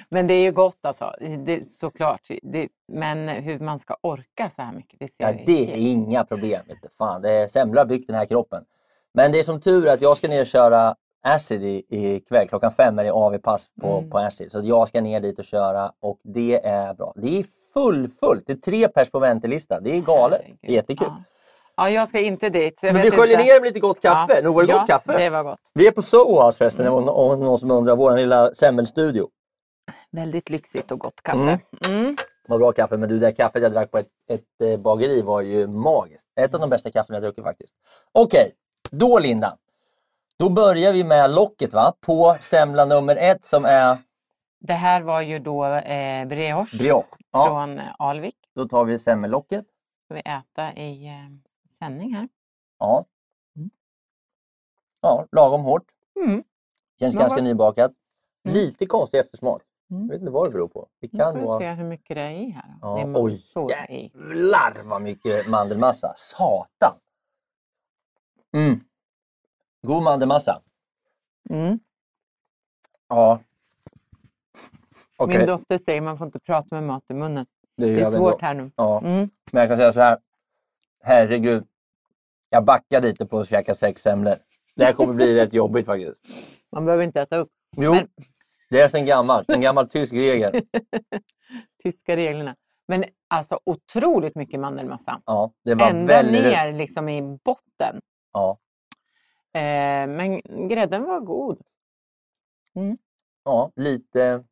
Speaker 5: Men det är ju gott alltså, det, såklart. Det, men hur man ska orka så här mycket, det ser
Speaker 1: Ja,
Speaker 5: vi.
Speaker 1: det är inga problem. Vet du fan. Det är semlor har byggt den här kroppen. Men det är som tur att jag ska ner och köra Acid i- ikväll. Klockan fem är det AV-pass på,
Speaker 5: Mm.
Speaker 1: på Acid. Så att jag ska ner dit och köra och det är bra. Det är fullfullt. Det är tre pers på väntelista. Det är galet.
Speaker 5: Herregud.
Speaker 1: Jättekul.
Speaker 5: Ja. ja, jag ska inte dit. så jag
Speaker 1: Men vi
Speaker 5: vet
Speaker 1: sköljer
Speaker 5: inte.
Speaker 1: ner med lite gott kaffe. Nog var det
Speaker 5: ja,
Speaker 1: gott kaffe.
Speaker 5: det var gott.
Speaker 1: Vi är på Soho House förresten, om, om någon som undrar. Vår lilla semmelstudio.
Speaker 5: Väldigt lyxigt och gott kaffe. Mm.
Speaker 1: Vad bra kaffe, men du, det där kaffet jag drack på ett, ett eh, bageri var ju magiskt. Ett av de bästa kaffen jag druckit faktiskt. Okej, då Linda. Då börjar vi med locket va? på semla nummer ett som är
Speaker 5: Det här var ju då eh, brioche
Speaker 1: brioche. Ja,
Speaker 5: från eh, Alvik.
Speaker 1: då tar vi semmellocket.
Speaker 5: Ska vi äta i eh, sändning här.
Speaker 1: Ja. ja, lagom hårt.
Speaker 5: Mm.
Speaker 1: Känns
Speaker 5: Men
Speaker 1: ganska
Speaker 5: vad-
Speaker 1: nybakat.
Speaker 5: Mm.
Speaker 1: Lite konstig eftersmak.
Speaker 5: Mm.
Speaker 1: Jag vet inte vad det beror på. Det
Speaker 5: Nu ska
Speaker 1: kan
Speaker 5: vi
Speaker 1: vara...
Speaker 5: se hur mycket det är i här.
Speaker 1: Ja,
Speaker 5: det är
Speaker 1: oj,
Speaker 5: massor i.
Speaker 1: Jävlar vad mycket mandelmassa. Satan! Mm. God mandelmassa.
Speaker 5: Mm.
Speaker 1: Ja. Okej,
Speaker 5: Min dotter säger man får inte prata med mat i munnen.
Speaker 1: det gör
Speaker 5: Det är
Speaker 1: vi
Speaker 5: svårt
Speaker 1: ändå.
Speaker 5: här nu.
Speaker 1: Ja.
Speaker 5: Mm.
Speaker 1: Men jag kan säga så här. Herregud. Jag backar lite på att käka sex semlor. Det här kommer bli rätt jobbigt faktiskt.
Speaker 5: Man behöver inte äta upp.
Speaker 1: Jo,
Speaker 5: Men-
Speaker 1: det är sen gammalt. En gammal tysk regel.
Speaker 5: Tyska reglerna. Men alltså otroligt mycket mandelmassa.
Speaker 1: Ja, det var
Speaker 5: Ända
Speaker 1: väldigt...
Speaker 5: ner liksom i botten.
Speaker 1: Ja.
Speaker 5: Eh, men grädden var god.
Speaker 1: Ja, lite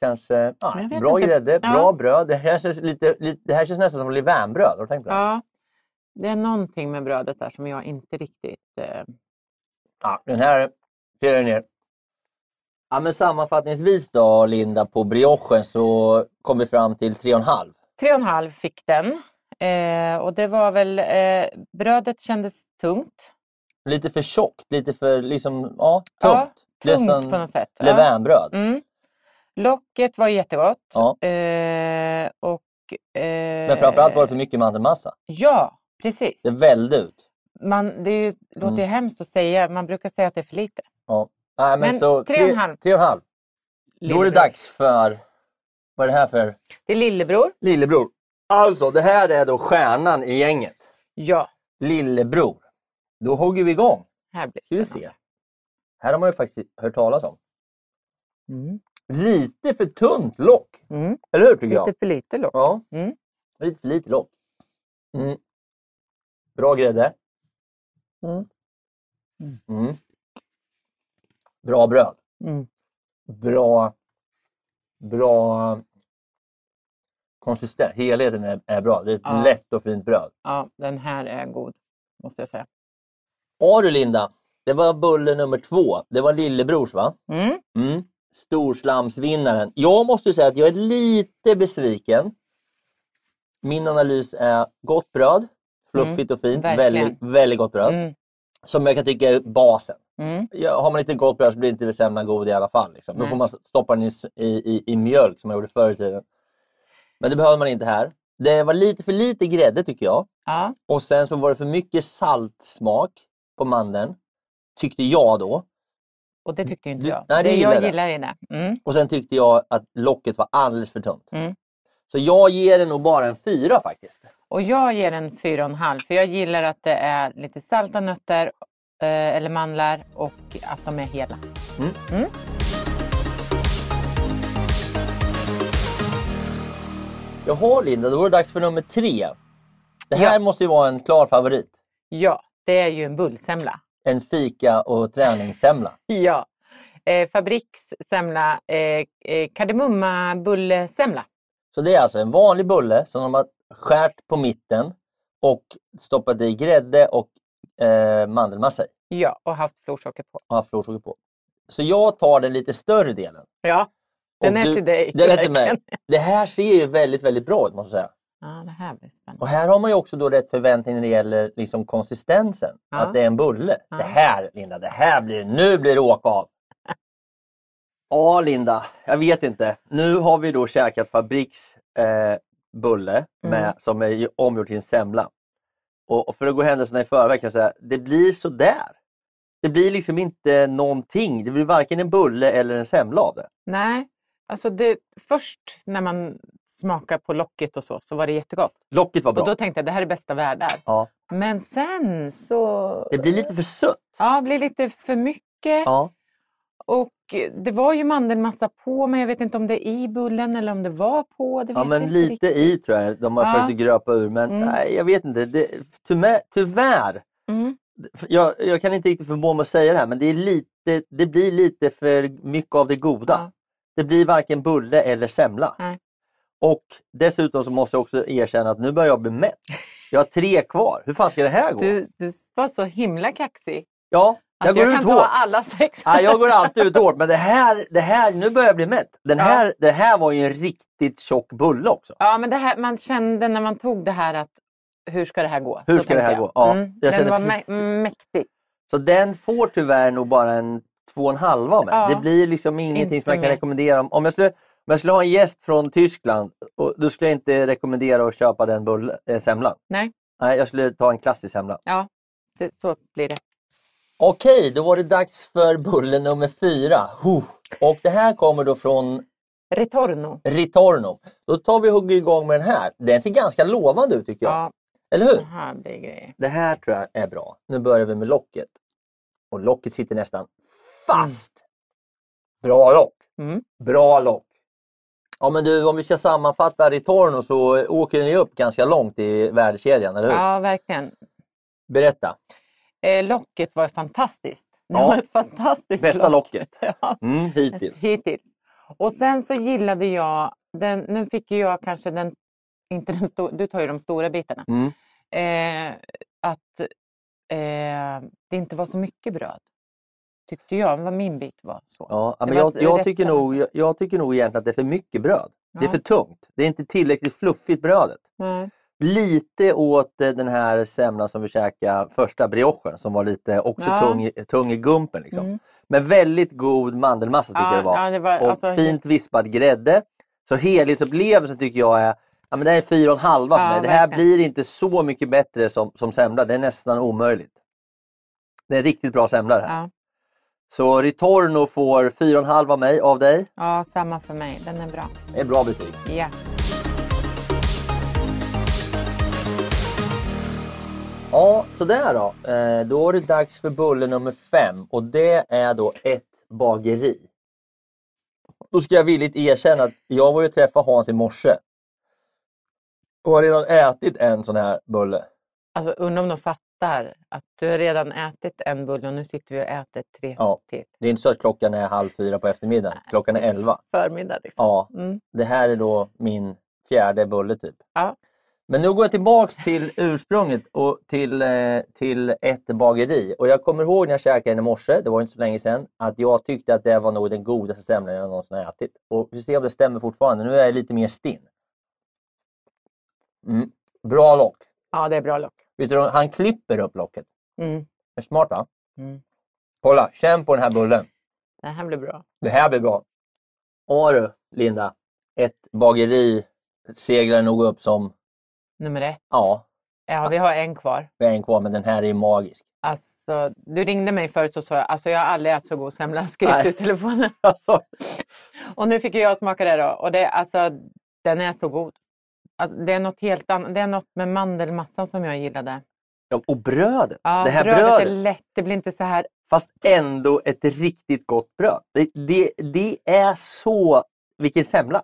Speaker 1: kanske... Ja,
Speaker 5: Jag vet
Speaker 1: bra
Speaker 5: inte.
Speaker 1: grädde,
Speaker 5: Ja.
Speaker 1: bra bröd. Det här känns, lite, lite, det här känns nästan som levainbröd. Har du tänkt på det?
Speaker 5: Ja, det är någonting med brödet där som jag inte riktigt... Eh,
Speaker 1: Ja, den här ser jag ner. Ja, men sammanfattningsvis då Linda, på briochen så kom vi fram till 3,5.
Speaker 5: tre och en halv fick den. Eh, och det var väl... Eh, brödet kändes tungt.
Speaker 1: Lite för tjockt, lite för liksom, ja,
Speaker 5: Ja,
Speaker 1: tungt.
Speaker 5: Tungt på något sätt. Ja.
Speaker 1: Levainbröd.
Speaker 5: Mm. Locket var jättegott.
Speaker 1: Ja.
Speaker 5: Eh, och, eh,
Speaker 1: Men framförallt var det för mycket mandelmassa.
Speaker 5: Ja, precis.
Speaker 1: Det vällde ut.
Speaker 5: Man, det är ju, låter
Speaker 1: Mm.
Speaker 5: ju hemskt att säga, man brukar säga att det är för lite.
Speaker 1: Ja. Nej, men
Speaker 5: Men
Speaker 1: så, 3,5.
Speaker 5: 3,5.
Speaker 1: Då är det
Speaker 5: Lillebror.
Speaker 1: dags för, vad är det här för?
Speaker 5: Det är lillebror.
Speaker 1: Lillebror. Alltså, det här är då stjärnan i gänget.
Speaker 5: Ja,
Speaker 1: Lillebror. Då hugger vi igång.
Speaker 5: här blir
Speaker 1: Ska vi
Speaker 5: det
Speaker 1: se.
Speaker 5: spännande.
Speaker 1: Här har man ju faktiskt hört talas om.
Speaker 5: Mm.
Speaker 1: lite för tunt lock.
Speaker 5: Mm.
Speaker 1: Eller hur tycker jag?
Speaker 5: Lite för lite lock.
Speaker 1: Ja.
Speaker 5: Mm.
Speaker 1: Lite för lite lock. Mm. Bra grädde.
Speaker 5: Mm.
Speaker 1: Mm. Bra bröd.
Speaker 5: Mm.
Speaker 1: Bra, bra konsistens. Helheten är, är bra. Det är ett
Speaker 5: Ja.
Speaker 1: lätt och fint bröd.
Speaker 5: Ja, den här är god, måste jag säga.
Speaker 1: Ja du Linda, det var bulle nummer två. Det var lillebrors va?
Speaker 5: Mm.
Speaker 1: Mm. Storslamsvinnaren. Jag måste säga att jag är lite besviken. Min analys är gott bröd, fluffigt och fint,
Speaker 5: Mm, verkligen.
Speaker 1: väldigt, väldigt gott bröd.
Speaker 5: Mm.
Speaker 1: Som jag kan tycka är basen.
Speaker 5: Mm.
Speaker 1: Ja, har man inte gott bröd så blir inte semlan god i alla fall. Liksom. Då
Speaker 5: Nej.
Speaker 1: får man stoppa den i, s- i, i, i mjölk som man gjorde förr i tiden. Men det behöver man inte här. Det var lite för lite grädde tycker jag.
Speaker 5: Ja.
Speaker 1: Och sen så var det för mycket saltsmak på mandeln. Tyckte jag då.
Speaker 5: Och det tyckte inte
Speaker 1: Du-
Speaker 5: jag.
Speaker 1: nej, du
Speaker 5: det
Speaker 1: gillar
Speaker 5: jag
Speaker 1: det.
Speaker 5: gillar är det. Mm.
Speaker 1: Och sen tyckte jag att locket var alldeles för tunt.
Speaker 5: Mm.
Speaker 1: Så jag ger det nog bara en fyra faktiskt.
Speaker 5: Och jag ger den 4,5 för jag gillar att det är lite salta nötter eh, eller mandlar och att de är hela.
Speaker 1: Jaha Linda, då var det dags för nummer tre. Det här
Speaker 5: Ja.
Speaker 1: måste ju vara en klar favorit.
Speaker 5: Ja, det är ju en bullsemla.
Speaker 1: En fika och träningssemla.
Speaker 5: Ja. Eh, Fabriks semla, eh, eh, kardemumma bullesemla.
Speaker 1: Så det är alltså en vanlig bulle som de har skärt på mitten och stoppat i grädde och eh, mandelmassa i.
Speaker 5: Ja, och haft florsocker på.
Speaker 1: Och haft florsocker på. Så jag tar den lite större delen.
Speaker 5: Ja,
Speaker 1: Och
Speaker 5: den är
Speaker 1: du-
Speaker 5: till dig.
Speaker 1: Den är till mig.
Speaker 5: verkligen.
Speaker 1: Det här ser ju väldigt, väldigt bra ut måste jag säga.
Speaker 5: Ja, det här blir spännande.
Speaker 1: Och här har man ju också då rätt förväntning när det gäller liksom konsistensen.
Speaker 5: Ja.
Speaker 1: Att det är en bulle.
Speaker 5: Ja.
Speaker 1: Det här Linda, det här blir, nu blir det åka av. Ja Linda, jag vet inte. Nu har vi då käkat Fabriks eh, bulle
Speaker 5: Mm.
Speaker 1: med, som är ju omgjord till en semla. Och, och för att gå händelserna i förväg kan jag säga, det blir sådär. Det blir liksom inte någonting. Det blir varken en bulle eller en semla av det.
Speaker 5: Nej, alltså det, först när man smakar på locket och så, så var det jättegott.
Speaker 1: Locket var bra.
Speaker 5: Och då tänkte jag det här är bästa världar.
Speaker 1: Ja.
Speaker 5: Men sen så...
Speaker 1: Det blir lite för sött.
Speaker 5: Ja, blir lite för mycket.
Speaker 1: Ja.
Speaker 5: Och det var ju mandelmassa på, men jag vet inte om det är i bullen eller om det var på. Det
Speaker 1: Ja
Speaker 5: vet jag
Speaker 1: men
Speaker 5: inte
Speaker 1: lite
Speaker 5: riktigt.
Speaker 1: i tror jag de har
Speaker 5: Ja.
Speaker 1: försökt gröpa ur men
Speaker 5: Mm.
Speaker 1: nej jag vet inte. Det, tyvärr, tyvärr
Speaker 5: Mm.
Speaker 1: jag, jag kan inte riktigt förmå mig att säga det här men det, är lite, det blir lite för mycket av det goda.
Speaker 5: Ja.
Speaker 1: Det blir varken bulle eller semla.
Speaker 5: Nej.
Speaker 1: Och dessutom så måste jag också erkänna att nu börjar jag bli mätt. Jag har tre kvar. Hur fan ska det här gå?
Speaker 5: Du, du var så himla kaxig.
Speaker 1: ja,
Speaker 5: Att
Speaker 1: jag
Speaker 5: jag,
Speaker 1: går
Speaker 5: kan
Speaker 1: ut
Speaker 5: ta
Speaker 1: hårt.
Speaker 5: alla sex.
Speaker 1: Nej, jag går alltid ut hårt men det här, det här, nu börjar jag bli mätt. Den
Speaker 5: Ja.
Speaker 1: här, Det här var ju en riktigt tjock bulle också.
Speaker 5: Ja, men det här, man kände när man tog det här att hur ska det här gå?
Speaker 1: Hur
Speaker 5: Så
Speaker 1: ska det här
Speaker 5: tänkte jag.
Speaker 1: gå? Ja,
Speaker 5: Mm.
Speaker 1: jag
Speaker 5: Den
Speaker 1: känner
Speaker 5: var
Speaker 1: precis-
Speaker 5: mä- mäktig.
Speaker 1: Så den får tyvärr nog bara en två och en halva av mig.
Speaker 5: Ja.
Speaker 1: Det blir liksom ingenting
Speaker 5: Inte
Speaker 1: som jag kan
Speaker 5: mer.
Speaker 1: rekommendera. Om jag, skulle, om jag skulle ha en gäst från Tyskland, och, då skulle jag inte rekommendera att köpa den bull, eh, semlan.
Speaker 5: Nej.
Speaker 1: Nej, jag skulle ta en klassisk semla.
Speaker 5: Ja, det, så blir det.
Speaker 1: Okej, då var det dags för bulle nummer fyra. Huh. Och det här kommer då från
Speaker 5: Retorno.
Speaker 1: Ritorno. Då tar vi och hugger igång med den här. Den ser ganska lovande ut tycker jag.
Speaker 5: Ja,
Speaker 1: Eller hur?
Speaker 5: det här blir grejer.
Speaker 1: Det här tror jag är bra. Nu börjar vi med locket. Och locket sitter nästan fast. Bra lock!
Speaker 5: Mm.
Speaker 1: Bra lock! Ja men du, om vi ska sammanfatta Ritorno så åker ni upp ganska långt i värdekedjan, eller hur?
Speaker 5: Ja, verkligen.
Speaker 1: Berätta!
Speaker 5: Eh, locket var fantastiskt. Det
Speaker 1: Ja.
Speaker 5: var ett fantastiskt
Speaker 1: Bästa
Speaker 5: lock.
Speaker 1: locket
Speaker 5: Ja.
Speaker 1: mm, hittills.
Speaker 5: Hittills. Och sen så gillade jag, den, nu fick ju jag kanske den, inte den stora, du tar ju de stora bitarna.
Speaker 1: Mm.
Speaker 5: Eh, att eh, det inte var så mycket bröd. Tyckte jag, vad min bit var så.
Speaker 1: Ja,
Speaker 5: Det
Speaker 1: men
Speaker 5: var
Speaker 1: jag,
Speaker 5: rätt
Speaker 1: jag, tycker
Speaker 5: sammansatt.
Speaker 1: nog, jag, jag tycker nog egentligen att det är för mycket bröd. Det är
Speaker 5: Ja.
Speaker 1: för tungt. Det är inte tillräckligt fluffigt brödet.
Speaker 5: Nej.
Speaker 1: Lite åt eh, den här semlan som vi käkade, första briochen som var lite också
Speaker 5: Ja.
Speaker 1: tung, i- tung i gumpen. Liksom.
Speaker 5: Mm.
Speaker 1: Men väldigt god mandelmassa tycker
Speaker 5: Ja,
Speaker 1: jag det var.
Speaker 5: ja, det var-
Speaker 1: och
Speaker 5: alltså-
Speaker 1: fint vispad grädde. Så helhetsupplevelsen tycker jag är Ja, men det här är fyra och en halva för
Speaker 5: Ja,
Speaker 1: mig. Det här
Speaker 5: verkligen.
Speaker 1: blir inte så mycket bättre som, som semla. Det är nästan omöjligt. Det är en riktigt bra semla det här.
Speaker 5: Ja.
Speaker 1: Så Ritorno får fyra och en halv av mig av dig.
Speaker 5: ja, samma för mig. Den är bra.
Speaker 1: Det är bra betyg.
Speaker 5: Ja.
Speaker 1: Ja, sådär då. Eh, Då är det dags för bulle nummer fem och det är då ett bageri. Då ska jag villigt erkänna att jag var ju och träffade Hans i morse och har redan ätit en sån här bulle.
Speaker 5: Alltså undrar om de fattar att du har redan ätit en bulle och nu sitter vi och äter tre
Speaker 1: Ja.
Speaker 5: till.
Speaker 1: Det är inte så att klockan är halv fyra på eftermiddagen, klockan är elva.
Speaker 5: Förmiddag liksom.
Speaker 1: Ja,
Speaker 5: Mm.
Speaker 1: det här är då min fjärde bulle typ.
Speaker 5: Ja.
Speaker 1: Men nu går jag tillbaks till ursprunget och till, eh, till ett bageri. Och jag kommer ihåg när jag käkade den i morse, det var inte så länge sedan, att jag tyckte att det var nog den godaste semlan jag någonsin har ätit. Och vi får se om det stämmer fortfarande. Nu är jag lite mer stinn. Mm. Bra lock.
Speaker 5: ja, det är bra lock.
Speaker 1: Vet du, han klipper upp locket.
Speaker 5: Mm.
Speaker 1: Det är smart va?
Speaker 5: Mm.
Speaker 1: Kolla, känn på den här bullen.
Speaker 5: Det här blir bra.
Speaker 1: Det här blir bra. Ja du, Linda. Ett bageri seglar nog upp som,
Speaker 5: Nummer ett.
Speaker 1: ja,
Speaker 5: Ja, vi har en kvar.
Speaker 1: vi har en kvar, men den här är magisk.
Speaker 5: Alltså, du ringde mig förut och sa jag, alltså jag har aldrig ätit så god semla, skrek
Speaker 1: Nej.
Speaker 5: du i telefonen.
Speaker 1: Alltså,
Speaker 5: Och nu fick ju jag smaka det då och det, alltså, den är så god. Alltså, det är något helt annat, det är något med mandelmassan som jag gillade.
Speaker 1: Ja, och brödet.
Speaker 5: Ja,
Speaker 1: det här
Speaker 5: brödet,
Speaker 1: brödet.
Speaker 5: är lätt, det blir inte så här,
Speaker 1: Fast ändå ett riktigt gott bröd. Det, det, det är så... Vilken semla!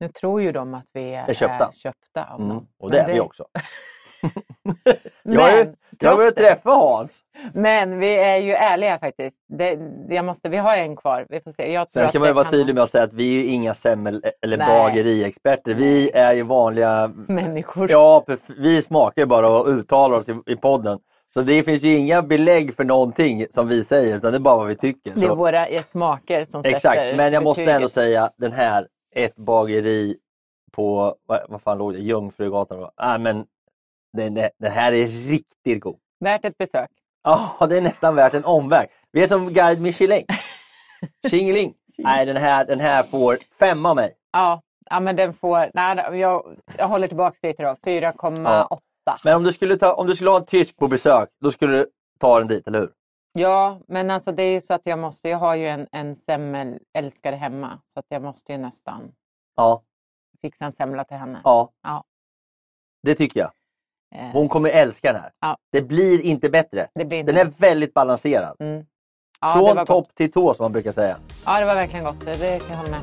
Speaker 5: nu tror ju de att vi är,
Speaker 1: Är köpta. Mm.
Speaker 5: köpta av dem.
Speaker 1: Och det
Speaker 5: Men
Speaker 1: är vi också.
Speaker 5: Men,
Speaker 1: Jag har ju- Jag vill
Speaker 5: trots det,
Speaker 1: träffa Hans.
Speaker 5: men vi är ju ärliga faktiskt. Det, jag måste, vi har en kvar, vi får se. Jag tror
Speaker 1: Sen ska
Speaker 5: att
Speaker 1: man ju
Speaker 5: det
Speaker 1: vara
Speaker 5: kan-
Speaker 1: tydlig med att säga att vi är ju inga semmel eller
Speaker 5: Nej.
Speaker 1: bageriexperter. Vi är ju vanliga...
Speaker 5: människor.
Speaker 1: Ja, perf- vi smakar ju bara och uttalar oss i, i podden. Så det finns ju inga belägg för någonting som vi säger, utan det är bara vad vi tycker.
Speaker 5: Det är
Speaker 1: Så.
Speaker 5: våra är smaker som sätter
Speaker 1: Exakt, men jag måste
Speaker 5: betyget.
Speaker 1: ändå säga den här, ett bageri på, vad, vad fan låg det, Ljungfrugatan? va? Ah, men den, den- den här är riktigt god.
Speaker 5: Värt ett besök.
Speaker 1: Ja, det är nästan värt en omväg. Vi är som guide Michelin. Tjingeling. Nej, den här, den här får fem av mig.
Speaker 5: Ja, Ja, men den får, nej, jag, jag håller tillbaka det till då. 4,8.
Speaker 1: Men om du, skulle ta, om du skulle ha en tysk på besök, då skulle du ta den dit, eller hur?
Speaker 5: Ja, men alltså det är ju så att jag måste, jag har ju en, en semmelälskare hemma så att jag måste ju nästan
Speaker 1: Ja,
Speaker 5: fixa en semla till henne.
Speaker 1: ja.
Speaker 5: Ja.
Speaker 1: Det tycker jag.
Speaker 5: Eh,
Speaker 1: Hon kommer älska den här.
Speaker 5: Ja.
Speaker 1: Det blir inte bättre.
Speaker 5: det blir inte...
Speaker 1: Den är väldigt balanserad.
Speaker 5: mm. ja, det var
Speaker 1: Från
Speaker 5: gott.
Speaker 1: topp till tå, som man brukar säga.
Speaker 5: Ja, det var verkligen gott. Det, det kan jag hålla med.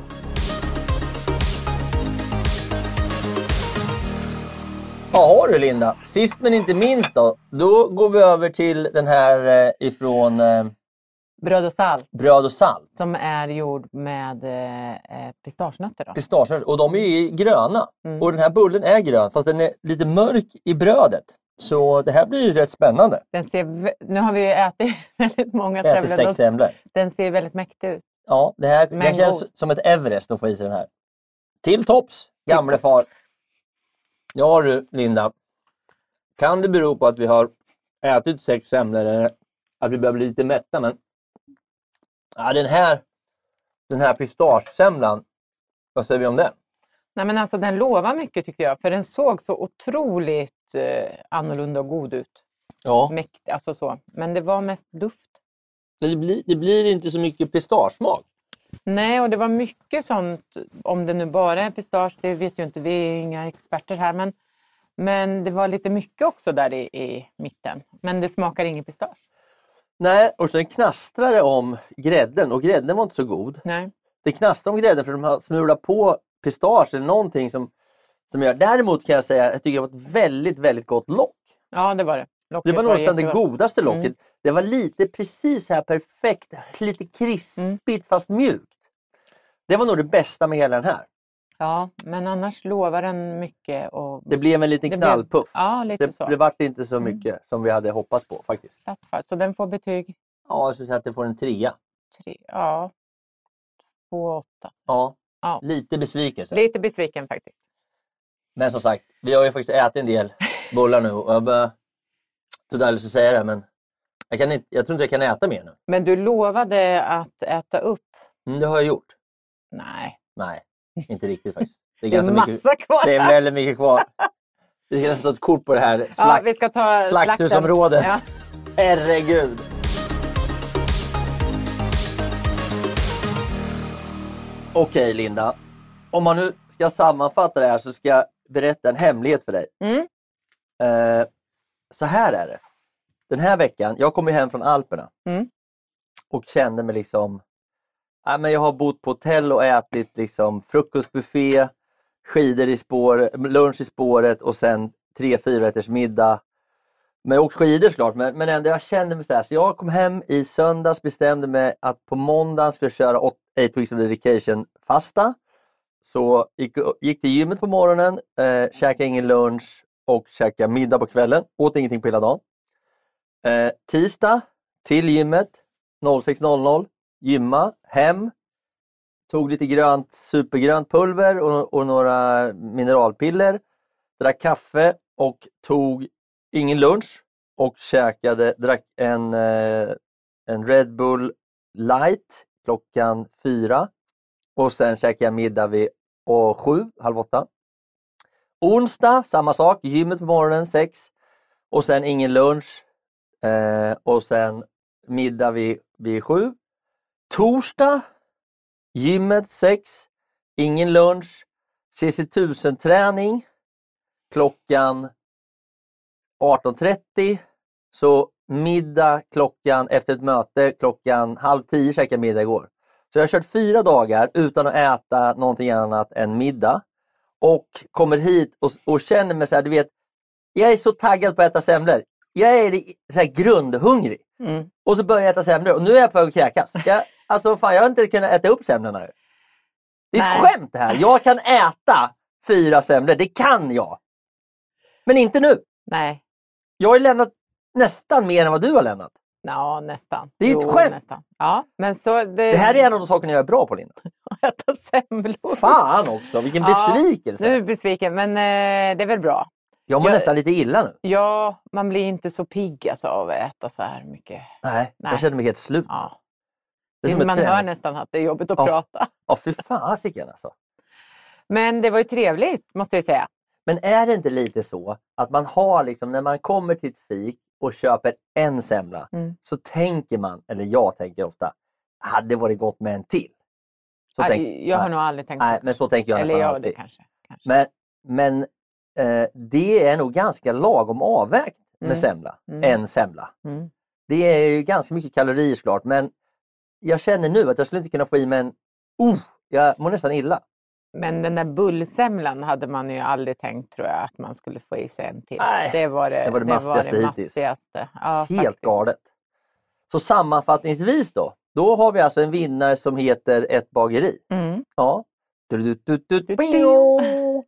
Speaker 1: Ja, har du Linda. Sist men inte minst då. Då går vi över till den här eh, ifrån eh,
Speaker 5: Bröd och salt
Speaker 1: Bröd och salt.
Speaker 5: som är gjord med eh, eh, pistagenötter. Då.
Speaker 1: Pistager. Och de är ju gröna.
Speaker 5: Mm.
Speaker 1: Och den här bullen är grön, fast den är lite mörk i brödet. Så det här blir ju rätt spännande.
Speaker 5: Den ser, vä- nu har vi ju ätit väldigt många
Speaker 1: Äter sex
Speaker 5: semlor. De-
Speaker 1: semlor.
Speaker 5: Den ser väldigt mäktig ut.
Speaker 1: Ja, det här
Speaker 5: Men
Speaker 1: det här känns
Speaker 5: god.
Speaker 1: som ett Everest att få i sig den här. Till tops, gamle
Speaker 5: tops.
Speaker 1: far. Ja du, Linda. Kan det bero på att vi har ätit sex semlor eller att vi börjar bli lite mätta? Men ja, den här, den här pistagesemlan, vad säger vi om den?
Speaker 5: Nej, men alltså, den lovar mycket tycker jag, för den såg så otroligt eh, annorlunda och god ut.
Speaker 1: Ja.
Speaker 5: Mäkt, alltså så. Men det var mest luft.
Speaker 1: Det blir, det blir inte så mycket pistagesmak.
Speaker 5: Nej, och det var mycket sånt, om det nu bara är pistage, det vet ju inte, vi är ju inga experter här, men, men det var lite mycket också där i, i mitten. Men det smakar ingen pistage.
Speaker 1: Nej, och sen knastrar det om grädden och grädden var inte så god.
Speaker 5: Nej.
Speaker 1: det knastrar om grädden för de har smulat på pistage eller någonting som, som gör. Däremot kan jag säga att jag tycker det var ett väldigt, väldigt gott lock.
Speaker 5: Ja, det var det. Locket
Speaker 1: Det var nästan det
Speaker 5: jättegott.
Speaker 1: godaste locket.
Speaker 5: Mm.
Speaker 1: Det var lite precis så här perfekt, lite krispigt
Speaker 5: Mm.
Speaker 1: fast mjukt. Det var nog det bästa med hela den här.
Speaker 5: Ja, men annars lovar den mycket. Och
Speaker 1: Det blev en liten
Speaker 5: Det blev-
Speaker 1: knallpuff.
Speaker 5: Ja, lite
Speaker 1: det,
Speaker 5: så. Mm.
Speaker 1: det vart inte så mycket som vi hade hoppats på faktiskt.
Speaker 5: platt fart. Så den får betyg
Speaker 1: Ja, jag skulle säga att det får en trea.
Speaker 5: tre, ja, två och åtta.
Speaker 1: Ja,
Speaker 5: Ja.
Speaker 1: lite besvikelse.
Speaker 5: Lite besviken faktiskt.
Speaker 1: Men som sagt, vi har ju faktiskt ätit en del bullar nu och jag börjar... Totalt att säga det, men jag, kan inte, jag tror inte jag kan äta mer nu.
Speaker 5: Men du lovade att äta upp.
Speaker 1: Mm, det har jag gjort.
Speaker 5: Nej,
Speaker 1: Nej, inte riktigt faktiskt. Det är,
Speaker 5: det är
Speaker 1: ganska
Speaker 5: massa
Speaker 1: mycket,
Speaker 5: kvar.
Speaker 1: det är väldigt mycket kvar. Vi ska sätta ett kort på det här.
Speaker 5: ja,
Speaker 1: Slakt,
Speaker 5: vi ska ta
Speaker 1: slakthusområdet.
Speaker 5: slakten.
Speaker 1: Herregud! Okej Linda, om man nu ska sammanfatta det här så ska jag berätta en hemlighet för dig.
Speaker 5: Ja. Mm.
Speaker 1: Eh, så här är det. Den här veckan, jag kom ju hem från Alperna
Speaker 5: Mm.
Speaker 1: och kände mig liksom... Ja, men jag har bott på hotell och ätit liksom frukostbuffé, skidor i spår, lunch i spåret och sen tre fyrarätters middag. Men jag har åkt skidor såklart, men, men ändå jag kände mig så här. Så jag kom hem i söndags, bestämde mig att på måndagen skulle jag köra 8 weeks of dedication-fasta. Så gick, gick till gymmet på morgonen, eh, käkade ingen lunch och käkade middag på kvällen. Åt ingenting på hela dagen. Eh, tisdag, till gymmet, 06.00, gymma, hem. Tog lite grönt, supergrönt pulver och, och några mineralpiller. Drack kaffe och tog ingen lunch och käkade, drack en, eh, en Red Bull light klockan fyra och sen käkade jag middag vid åh, sju, halv åtta. Onsdag, samma sak, gymmet på morgonen sex och sen ingen lunch eh, och sen middag vid, vid sju. Torsdag, gymmet sex, ingen lunch, CC1000-träning klockan 18.30. Så middag klockan, efter ett möte klockan halv tio käkade jag middag igår. Så jag har kört fyra dagar utan att äta någonting annat än middag. Och kommer hit och, och känner mig så här, du vet, jag är så taggad på att äta semlor. Jag är i- så här grundhungrig.
Speaker 5: Mm.
Speaker 1: Och så börjar jag äta semlor och nu är jag på väg att kräkas. Jag, alltså fan, jag har inte kunnat äta upp semlorna. nu. Det är ett
Speaker 5: Nej.
Speaker 1: skämt det här. Jag kan äta fyra semlor, det kan jag. Men inte nu.
Speaker 5: Nej,
Speaker 1: Jag har ju lämnat nästan mer än vad du har lämnat.
Speaker 5: Nå, nästan.
Speaker 1: Det är ett skämt.
Speaker 5: Nästan. Ja, men så det,
Speaker 1: Det här är en av de sakerna jag är bra på Linda.
Speaker 5: äta semlor.
Speaker 1: Fan också, vilken
Speaker 5: Ja, Nu är
Speaker 1: besvikelse.
Speaker 5: jag besviken, men eh, det är väl bra.
Speaker 1: Jag mår
Speaker 5: jag-
Speaker 1: nästan lite illa nu.
Speaker 5: Ja, man blir inte så pigg alltså, av att äta så här mycket.
Speaker 1: Nej,
Speaker 5: Nej.
Speaker 1: jag känner mig helt slut.
Speaker 5: Ja.
Speaker 1: Det är som ett
Speaker 5: man hör
Speaker 1: träning.
Speaker 5: nästan att det är jobbigt att
Speaker 1: Ja.
Speaker 5: prata.
Speaker 1: Ja, fy fasiken alltså.
Speaker 5: Men det var ju trevligt måste jag ju säga.
Speaker 1: Men är det inte lite så att man har, liksom, när man kommer till ett fik och köper en semla,
Speaker 5: Mm.
Speaker 1: så tänker man, eller jag tänker ofta, hade det varit gott med en till? Så
Speaker 5: Ja,
Speaker 1: tänk-
Speaker 5: jag har
Speaker 1: nej,
Speaker 5: nog aldrig tänkt
Speaker 1: nej,
Speaker 5: så.
Speaker 1: men så tänker jag
Speaker 5: Eller
Speaker 1: nästan
Speaker 5: jag det
Speaker 1: alltid.
Speaker 5: kanske. kanske.
Speaker 1: Men, men eh, det är nog ganska lagom avvägt med
Speaker 5: Mm.
Speaker 1: semla,
Speaker 5: Mm.
Speaker 1: en semla.
Speaker 5: Mm.
Speaker 1: Det är ju ganska mycket kalorier såklart, men jag känner nu att jag skulle inte kunna få i mig en... Oh, jag mår nästan illa.
Speaker 5: Men den där bullsemlan hade man ju aldrig tänkt tror jag att man skulle få i sig en till.
Speaker 1: Nej,
Speaker 5: det var det,
Speaker 1: det var det mastigaste hittills.
Speaker 5: mastigaste. Ja,
Speaker 1: Helt
Speaker 5: faktiskt.
Speaker 1: galet. Så sammanfattningsvis då, då har vi alltså en vinnare som heter ett bageri.
Speaker 5: Mm.
Speaker 1: Ja. Du-du-du-du-du.
Speaker 5: Du-du.
Speaker 1: Bing!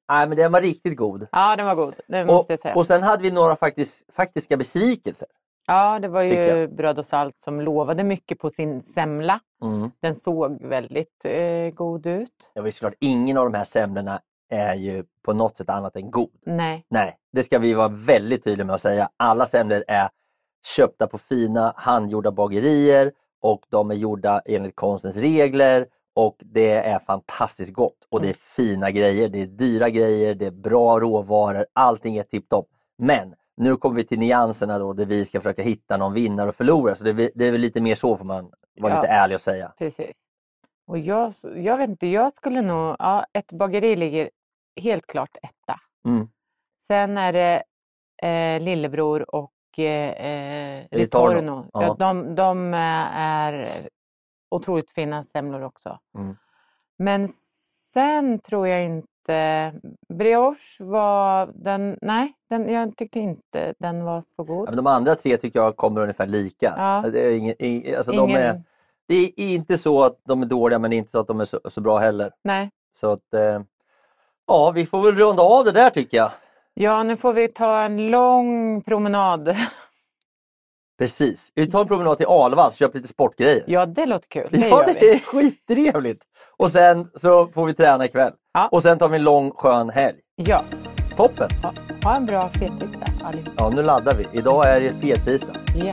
Speaker 1: Nej, men den var riktigt god.
Speaker 5: Ja, den var god. Det
Speaker 1: Och,
Speaker 5: måste jag säga.
Speaker 1: och sen hade vi några faktiskt, faktiska besvikelser.
Speaker 5: ja, det var
Speaker 1: tycker
Speaker 5: ju bröd och salt som lovade mycket på sin semla.
Speaker 1: Mm.
Speaker 5: Den såg väldigt eh, god ut.
Speaker 1: Ja, visst, klart, ingen av de här semlorna är ju på något sätt annat än god.
Speaker 5: Nej,
Speaker 1: Nej, det ska vi vara väldigt tydliga med att säga. Alla semlor är köpta på fina handgjorda bagerier och de är gjorda enligt konstens regler och det är fantastiskt gott. Och det är fina grejer, det är dyra grejer, det är bra råvaror, allting är tipptopp. Men nu kommer vi till nyanserna då där vi ska försöka hitta någon vinnare och förlorare. Så det är, väl- det är väl lite mer så får man vara
Speaker 5: Ja.
Speaker 1: lite ärlig och säga.
Speaker 5: precis. Och jag, s- jag vet inte, jag skulle nog... Ja, ett bageri ligger helt klart etta.
Speaker 1: Mm.
Speaker 5: Sen är det eh, Lillebror och eh,
Speaker 1: Ritorno.
Speaker 5: Ritorno. Ja.
Speaker 1: Ja.
Speaker 5: de, de eh, är otroligt fina semlor också.
Speaker 1: Mm.
Speaker 5: Men sen tror jag inte... Brioche var den... Nej, den, jag tyckte inte den var så
Speaker 1: Ja, men
Speaker 5: god.
Speaker 1: de andra tre tycker jag kommer ungefär lika.
Speaker 5: Ja.
Speaker 1: Det, är ingen, ing- alltså de är, det är inte så att de är dåliga men inte så att de är så, så bra heller.
Speaker 5: Nej.
Speaker 1: Så att, eh, ja, vi får väl runda av det där tycker jag.
Speaker 5: Ja, nu får vi ta en lång promenad.
Speaker 1: Precis. Vi tar en promenad till Alvans och köper lite sportgrejer.
Speaker 5: Ja, det låter kul. Det
Speaker 1: ja,
Speaker 5: gör
Speaker 1: det
Speaker 5: vi.
Speaker 1: är skittrevligt! Och sen så får vi träna ikväll.
Speaker 5: Ja.
Speaker 1: Och sen tar vi en lång skön helg.
Speaker 5: Ja,
Speaker 1: Toppen!
Speaker 5: ha, ha en bra fettisdag allihopa.
Speaker 1: Ja, nu laddar vi. Idag är det fettisdag.
Speaker 5: Ja.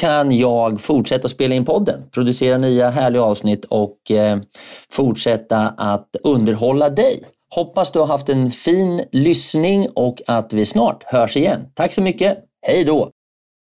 Speaker 6: kan jag fortsätta spela in podden, producera nya härliga avsnitt och eh, fortsätta att underhålla dig.
Speaker 1: Hoppas du har haft en fin lyssning och att vi snart hörs igen. Tack så mycket. Hej då!